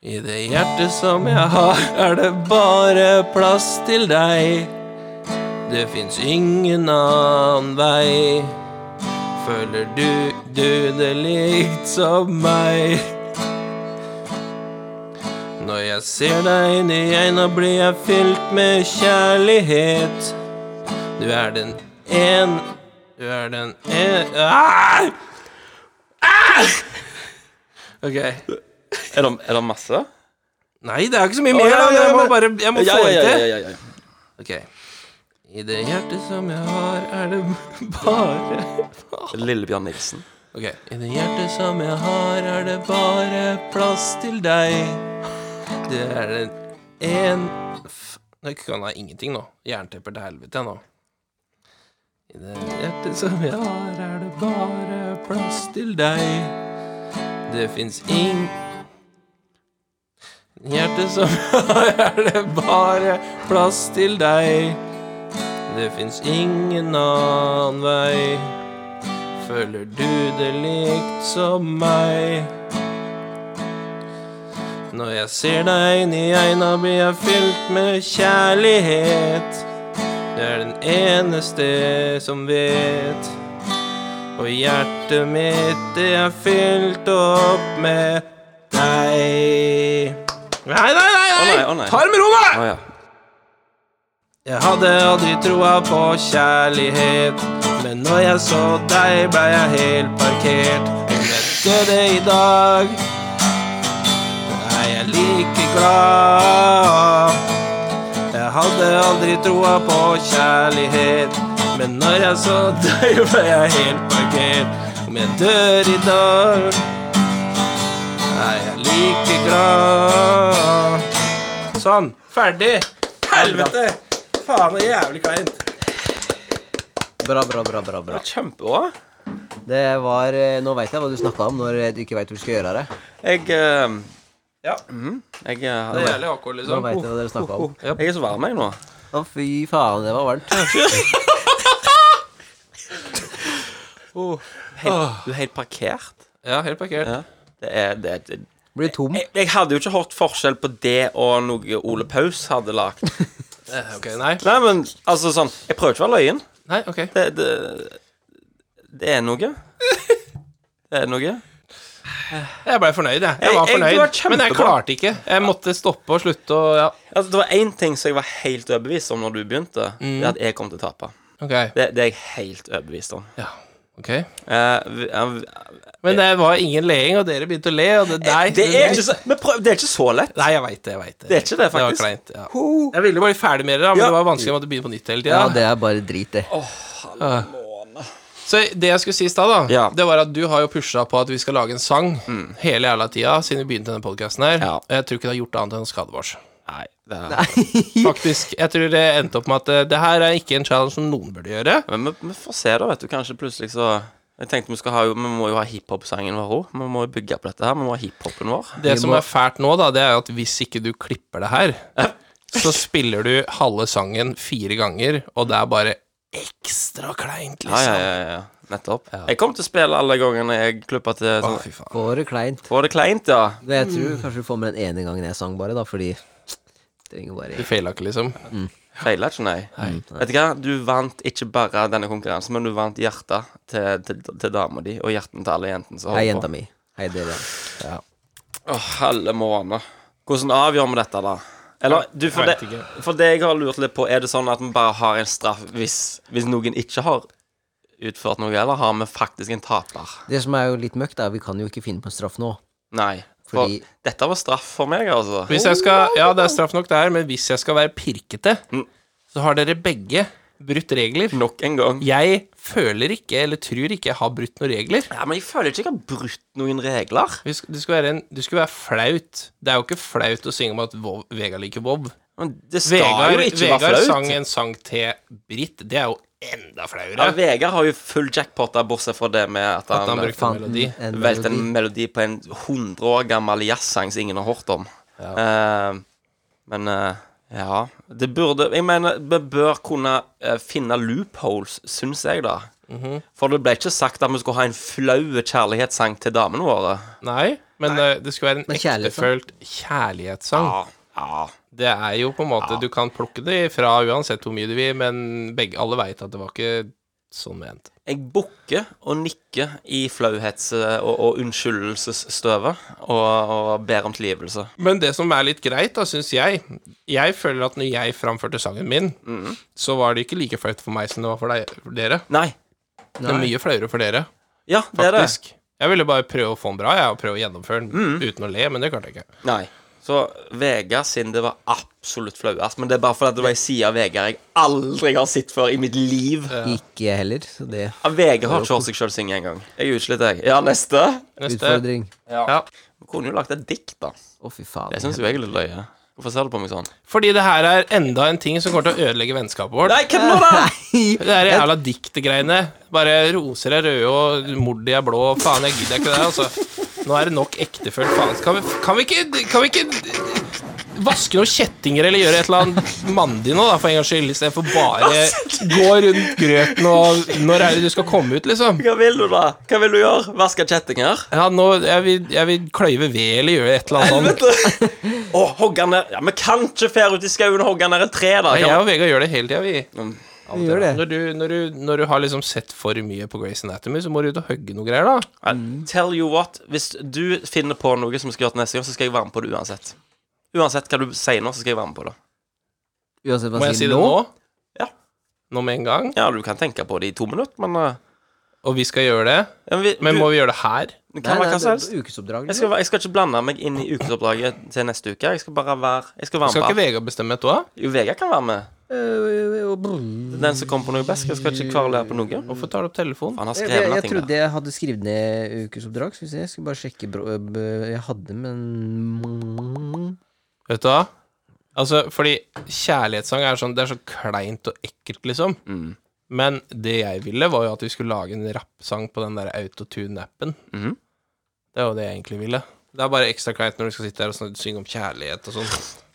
S2: I det hjertet som jeg har, er det bare plass til deg. Det fins ingen annen vei. Føler du, du det likt som meg? Når jeg ser deg inn i øynene, blir jeg fylt med kjærlighet. Du er den en... Du er den en... Ah! Ah! Ok.
S1: Er det, er det masse?
S2: Nei, det er ikke så mye mer.
S1: ja,
S2: da.
S1: ja,
S2: jeg må
S1: men-
S2: bare jeg må
S1: Ja, ja,
S2: få det
S1: ja,
S2: til.
S1: ja, ja, ja.
S2: Ok. I det hjertet som jeg har, er det bare
S1: Lillebjørn Nilsen.
S2: Ok. I det hjertet som jeg har, er det bare plass til deg. Det er den en... F- Nå kan jeg ingenting nå. Jernteppet til helvete nå. I det hjertet som jeg har, er det bare plass til deg. Det fins ing... Hjertet som jeg har, er det bare plass til deg. Det fins ingen annen vei. Føler du det likt som meg? Når jeg ser deg inn i øynene, blir jeg fylt med kjærlighet. Du er den eneste som vet. Og hjertet mitt det er fylt opp med deg. Nei, nei, nei! nei.
S1: Å nei, å nei.
S2: Ta det med ro, da!
S1: Å ja.
S2: Jeg hadde aldri troa på kjærlighet, men når jeg så deg, blei jeg helt parkert. Jeg møtte det i dag, er jeg like glad. Jeg hadde aldri troa på kjærlighet, men når jeg så deg, blei jeg helt parkert. Om jeg dør i dag, er jeg like glad. Sånn. Ferdig. Helvete! Faen, det er jævlig kleint.
S3: Bra, bra, bra. bra, bra.
S1: Kjempebra.
S3: Det var eh, Nå veit jeg hva du snakka om når eh, du ikke veit hvor du skal gjøre det.
S1: Jeg eh,
S2: Ja.
S1: mhm, jeg, eh,
S2: Det er jævlig AK,
S3: Mm. Nå
S2: liksom.
S3: vet jeg hva dere snakket om.
S1: jeg er så varm, jeg, nå.
S3: Å, fy faen, det var varmt.
S1: Helt, du er helt parkert.
S2: Ja, helt parkert.
S1: Ja. Det er, det, er- det,
S3: Blir tom.
S2: Eh,
S1: jeg, jeg hadde jo ikke hørt forskjell på det og noe Ole Paus hadde lagd.
S2: Eh, Ok, nei.
S1: Nei, men altså sånn Jeg prøver ikke å være løyen.
S2: Nei, ok.
S1: Det, det, det er noe. Det er noe.
S2: Jeg ble fornøyd, jeg. Jeg var
S1: Jeg- jeg- du var
S2: fornøyd,
S1: kjempebra.
S2: men jeg klarte ikke. Jeg måtte stoppe og slutte og ja.
S1: Altså, det var én ting som jeg var helt overbevist om når du begynte.
S2: Mm.
S1: Det er at jeg kom til å tape.
S2: Ok.
S1: Det, det er jeg helt overbevist om.
S2: Ja. Ok.
S1: Eh, vi- eh, vi-
S2: Men det var ingen leing, og dere begynte å le, og det Nei,
S1: Eh, det, er ikke så, men prøv, det er ikke så lett.
S2: Nei, jeg veit det. jeg vet det.
S1: Det er ikke det, faktisk.
S2: Det var kleint, ja. Jeg ville bare ferdig med det, da, men
S1: Ja.
S2: det var vanskelig. Jeg måtte begynne på nytt hele
S3: Ja,
S2: tida.
S3: det er bare drit, det.
S1: Ah.
S2: Så det jeg skulle si i stad, da,
S1: Ja.
S2: det var at du har jo pusha på at vi skal lage en sang hele jævla tida siden vi begynte denne podkasten her.
S1: Ja.
S2: Og jeg tror ikke det har gjort annet enn å skade oss.
S1: Nei, det er,
S2: Faktisk. Jeg tror det endte opp med at eh, det her er ikke en challenge som noen burde gjøre.
S1: Men vi, vi får se, da, vet du. Kanskje plutselig så Jeg tenkte Vi skal ha jo, vi må jo ha hiphop-sangen vår òg. Vi må jo bygge på dette her. Vi må ha hiphopen vår.
S2: Det som er fælt nå, da, det er jo at hvis ikke du klipper det her, så spiller du halve sangen fire ganger, og det er bare ekstra kleint,
S1: Ja, ja,
S2: liksom.
S1: ja, ja. Nettopp. Jeg kommer til å spille alle gangene jeg klipper til
S2: Å,
S1: sånn.
S2: fy faen.
S3: Får det kleint.
S1: Får det kleint, ja.
S3: Men Jeg tror kanskje du får med den ene gangen jeg sang, bare, da, fordi Trenger bare
S2: Du feila ikke, liksom.
S1: Feila ikke, nei. Vet du hva? Du vant ikke bare denne konkurransen, men du vant hjertet til, til, til dama di, og hjertene til alle jentene som
S3: Hei,
S1: holder
S3: jenta
S1: på.
S3: mi. Hei, dere.
S1: Å, halve måned. Hvordan avgjør vi dette, da? Eller, du, for,
S2: vet
S1: det,
S2: ikke.
S1: for det jeg har lurt litt på, er det sånn at vi bare har en straff hvis, hvis noen ikke har utført noe, eller har vi faktisk en taper?
S3: Det som er jo litt møkk, er at vi kan jo ikke finne på en straff nå.
S1: Nei. For
S3: Fordi-
S1: dette var straff for meg, altså.
S2: Hvis jeg skal Ja, det er straff nok, det her, men hvis jeg skal være pirkete,
S1: Mm.
S2: så har dere begge brutt regler.
S1: Nok en gang.
S2: Jeg føler ikke, eller tror ikke, jeg har brutt noen regler.
S1: Ja, men jeg føler ikke jeg har brutt noen regler.
S2: Vi sk- Det skulle være, en, det skulle være flaut. Det er jo ikke flaut å synge om at Vov, Vegard liker Vov.
S1: Men det skal
S2: Vegard,
S1: jo ikke være
S2: Vegard
S1: flaut.
S2: sang en sang til Britt. Det er jo enda flauere.
S1: Ja, Vegard har jo full jackpot der, bortsett fra det med at
S2: at han
S1: han
S2: brukte en melodi.
S3: en
S1: valgte
S3: melodi.
S1: en melodi på en 100 år gammel jazzsang som ingen har hørt om. Eh, men eh, ja Det burde Jeg mener, vi bør kunne eh, finne loopholes, syns jeg, da. For det ble ikke sagt at vi skulle ha en flau kjærlighetssang til damene våre.
S2: Nei, men eh, det skulle være en
S3: Men kjærlighetssang.
S2: ektefølt kjærlighetssang.
S1: Ja, ja.
S2: Det er jo på en måte Du kan plukke det fra uansett hvor mye du vil, men begge, alle veit at det var ikke sånn ment.
S1: Jeg bukker og nikker i flauhets- og, og unnskyldelsesstøvet og, og ber om tilgivelse.
S2: Men det som er litt greit, da, syns jeg Jeg føler at når jeg framførte sangen min,
S1: Mhm.
S2: så var det ikke like flaut for meg som det var for deg, for dere.
S1: Nei.
S2: Det er mye flauere for dere,
S1: Ja, det er det.
S2: faktisk. Jeg ville bare prøve å få den bra, jeg, og prøve å gjennomføre den
S1: Mhm.
S2: uten å le, men det klarte jeg ikke.
S1: Nei. Så Vegard sin det var absolutt flauest. Men det er bare fordi det var ei side av Vegard jeg aldri har sett før i mitt liv.
S2: eh,
S3: Ikke jeg heller, så det
S1: Ja, Vegard har ikke hørt seg sjøl synge engang. Jeg er utslitt, jeg. Ja, neste.
S2: Neste.
S3: Utfordring.
S2: Ja.
S1: Vi kunne jo lagt et dikt, da.
S3: Å, fy faen.
S1: Det syns jo jeg er litt løye. Hvorfor ser du på meg sånn?
S2: Fordi det her er enda en ting som kommer til å ødelegge vennskapet vårt.
S1: Nei, hvem nå, da?
S3: Nei,
S2: Det er jævla diktegreiene. Bare roser er røde, og mordi er blå. og Faen, jeg gidder ikke det der, altså. Nå er det nok ektefølt faen. Kan vi, kan vi ikke Kan vi ikke vaske noen kjettinger eller gjøre et eller annet mandig nå, da, for en gangs skyld, istedenfor bare gå rundt grøten og Når er det du skal komme ut, liksom?
S1: Hva vil du, da? Hva vil du gjøre? Vaske kjettinger?
S2: Ja, nå Jeg vil, jeg vil kløyve ved eller gjøre et eller annet sånt.
S1: Helvete! Å, hogge ned Ja, vi kan ikke fære ut i skauen og hogge ned et tre, da. Mm.
S2: Nei,
S1: Kan...
S2: Jeg og Vegard gjør det hele tida, vi.
S3: Hun gjør det.
S2: Når du, når, du, når du har liksom sett for mye på Grace Anatomy, så må du ut og hogge noe greier, da.
S1: Nei, Tell you what, hvis du finner på noe som vi skal gjøre til neste gang, så skal jeg være med på det uansett. Uansett hva du sier nå, så skal jeg være med på det.
S3: Uansett hva
S2: Må jeg si det nå?
S1: Ja.
S2: Nå med en gang?
S1: Ja, du kan tenke på det i to minutter, men, eh,
S2: Og vi skal gjøre det?
S1: ja, men, vi,
S2: Men
S1: du,
S2: må vi gjøre det her?
S1: det liksom.
S3: Nei,
S1: kan
S3: nei,
S1: være hva som helst.
S3: det er ukesoppdrag.
S1: Jeg skal, være- jeg skal ikke blande meg inn i ukesoppdraget til neste uke. Jeg skal bare være Jeg skal være
S2: Skal
S1: med.
S2: ikke Vegard bestemme dette òg?
S1: Jo, Vegard kan være med.
S3: Øh, liksom.
S1: Den som kommer på noe best, skal ikke kvarle på noe.
S2: Hvorfor tar du opp telefonen?
S1: Han har
S3: Jeg, jeg,
S1: skrevet
S3: jeg
S1: noe.
S3: trodde jeg hadde skrevet ned ukesoppdrag. Skal vi se, jeg skulle bare sjekke bro, øh, b- Jeg hadde, men
S2: Vet du hva? Altså, fordi kjærlighetssang er sånn Det er så kleint og ekkelt, liksom.
S1: Mm.
S2: Men det jeg ville, var jo at vi skulle lage en rappsang på den der autotune-appen.
S1: Mhm.
S2: Det var jo det jeg egentlig ville. Det er bare ekstra kleint når du skal sitte her og sn- synge om kjærlighet og sånn.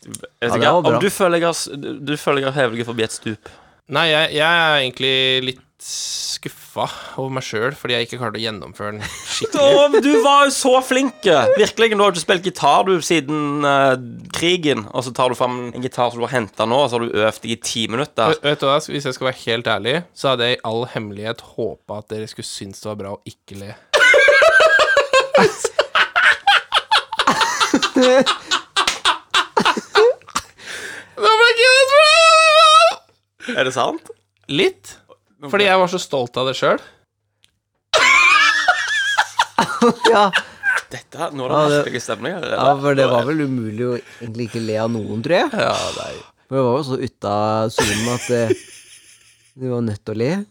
S1: Jeg vet
S3: Ja, det
S1: ikke,
S3: var bra.
S1: om du føler jeg har s- du- Du føler jeg har hevet deg forbi et stup.
S2: Nei, jeg, jeg er egentlig litt skuffa over meg sjøl fordi jeg ikke klarte å gjennomføre den skikkelig.
S1: Å, men du var jo så flink! eh, Virkelig. Du har ikke spilt gitar du siden eh, krigen, og så tar du fram en gitar som du har henta nå, og så har du øvd i ti minutter.
S2: Vet vet du hva, Hvis jeg skal være helt ærlig, så hadde jeg i all hemmelighet håpa at dere skulle synes det var bra å ikke le.
S1: Er det sant?
S2: Litt. Fordi jeg var så stolt av det sjøl.
S3: Ja,
S1: Dette, nå er det
S3: Ja, det-
S1: merkelig stemning her.
S3: ja, for det var vel umulig å egentlig ikke le av noen, tror jeg.
S2: Ja, nei.
S3: For det var jo så ute av sonen at eh, du var nødt til å le.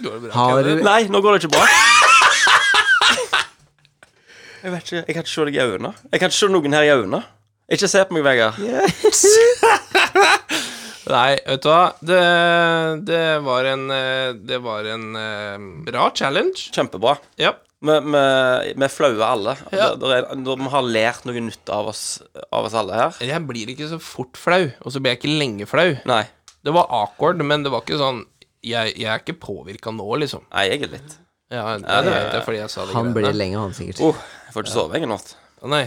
S2: Går det bra?
S3: Har du
S1: Nei, nå går det ikke bra. Jeg vet ikke, jeg kan ikke se deg i øynene. Jeg kan ikke se noen her i øynene. Ikke se på meg, Vegard.
S2: Nei, vet du hva. Det, det var en eh, Det var en eh, bra challenge.
S1: Kjempebra.
S2: Ja.
S1: Vi- Vi vi er flaue alle.
S2: Ja.
S1: Det- det er- det- Vi har lært noe nytt av oss, av oss alle her.
S2: Jeg blir ikke så fort flau, og så blir jeg ikke lenge flau.
S1: Nei,
S2: Det var awkward, men det var ikke sånn Jeg, jeg er ikke påvirka nå, liksom.
S1: nei jeg er litt
S2: Ja, ja, det vet jeg fordi jeg sa det
S3: Han blir
S2: greiene.
S3: lenge, han sikkert.
S1: oh, Jeg får ikke sove jeg i natt.
S2: Å, Nei.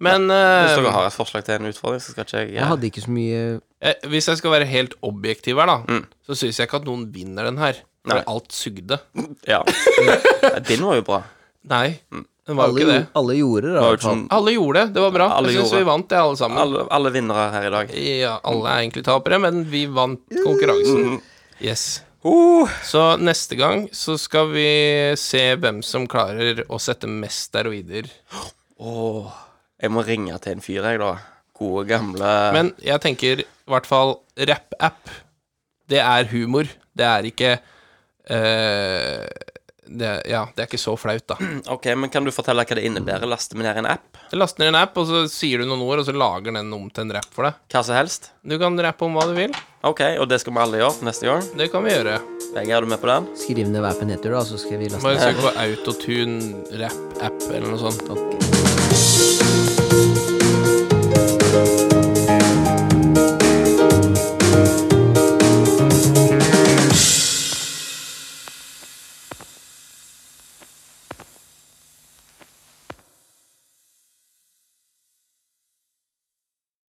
S2: Men
S1: Hvis dere
S2: eh,
S1: har et forslag til en utfordring, så skal ikke jeg,
S3: Jeg hadde ikke så mye
S2: eh, hvis jeg skal være helt objektiv her, da,
S1: Mm.
S2: så syns jeg ikke at noen vinner den her. For
S1: Nei.
S2: alt sugde.
S1: eh, Ja. Nei, Din var jo bra.
S2: Nei,
S1: Mm.
S2: den var
S3: Alle,
S2: jo ikke det.
S3: gjo- alle gjorde det, da.
S1: Det
S3: i
S1: var jo
S3: hvert
S1: ikke
S3: fall.
S1: sånn,
S2: Alle gjorde det. Det var bra.
S1: Alle
S2: jeg syns
S1: gjorde.
S2: vi vant, det, alle sammen.
S1: alle, alle vinnere her i dag.
S2: Ja, alle er egentlig tapere, men vi vant konkurransen.
S1: Mm.
S2: Yes.
S1: Uh,
S2: Så neste gang så skal vi se hvem som klarer å sette mest steroider.
S1: åh. jeg må ringe til en fyr, jeg, da. Gode, gamle
S2: Men jeg tenker i hvert fall rap-app. Det er humor. Det er ikke eh, det, Ja, det er ikke så flaut, da.
S1: Ok, men Kan du fortelle hva det innebærer? Laste meg ned en app?
S2: Du laster ned en app, og så sier du noen ord, og så lager den om til en rap for deg.
S1: Hva som helst?
S2: Du kan rappe om hva du vil.
S1: Ok, Og det skal vi alle gjøre neste gang?
S2: Det kan vi gjøre.
S1: Vegard, er du med på den?
S3: Skriv ned hver på nettet, da, så skal vi laste
S2: Bare søk på autotune rap-app eller noe sånt.
S3: opp.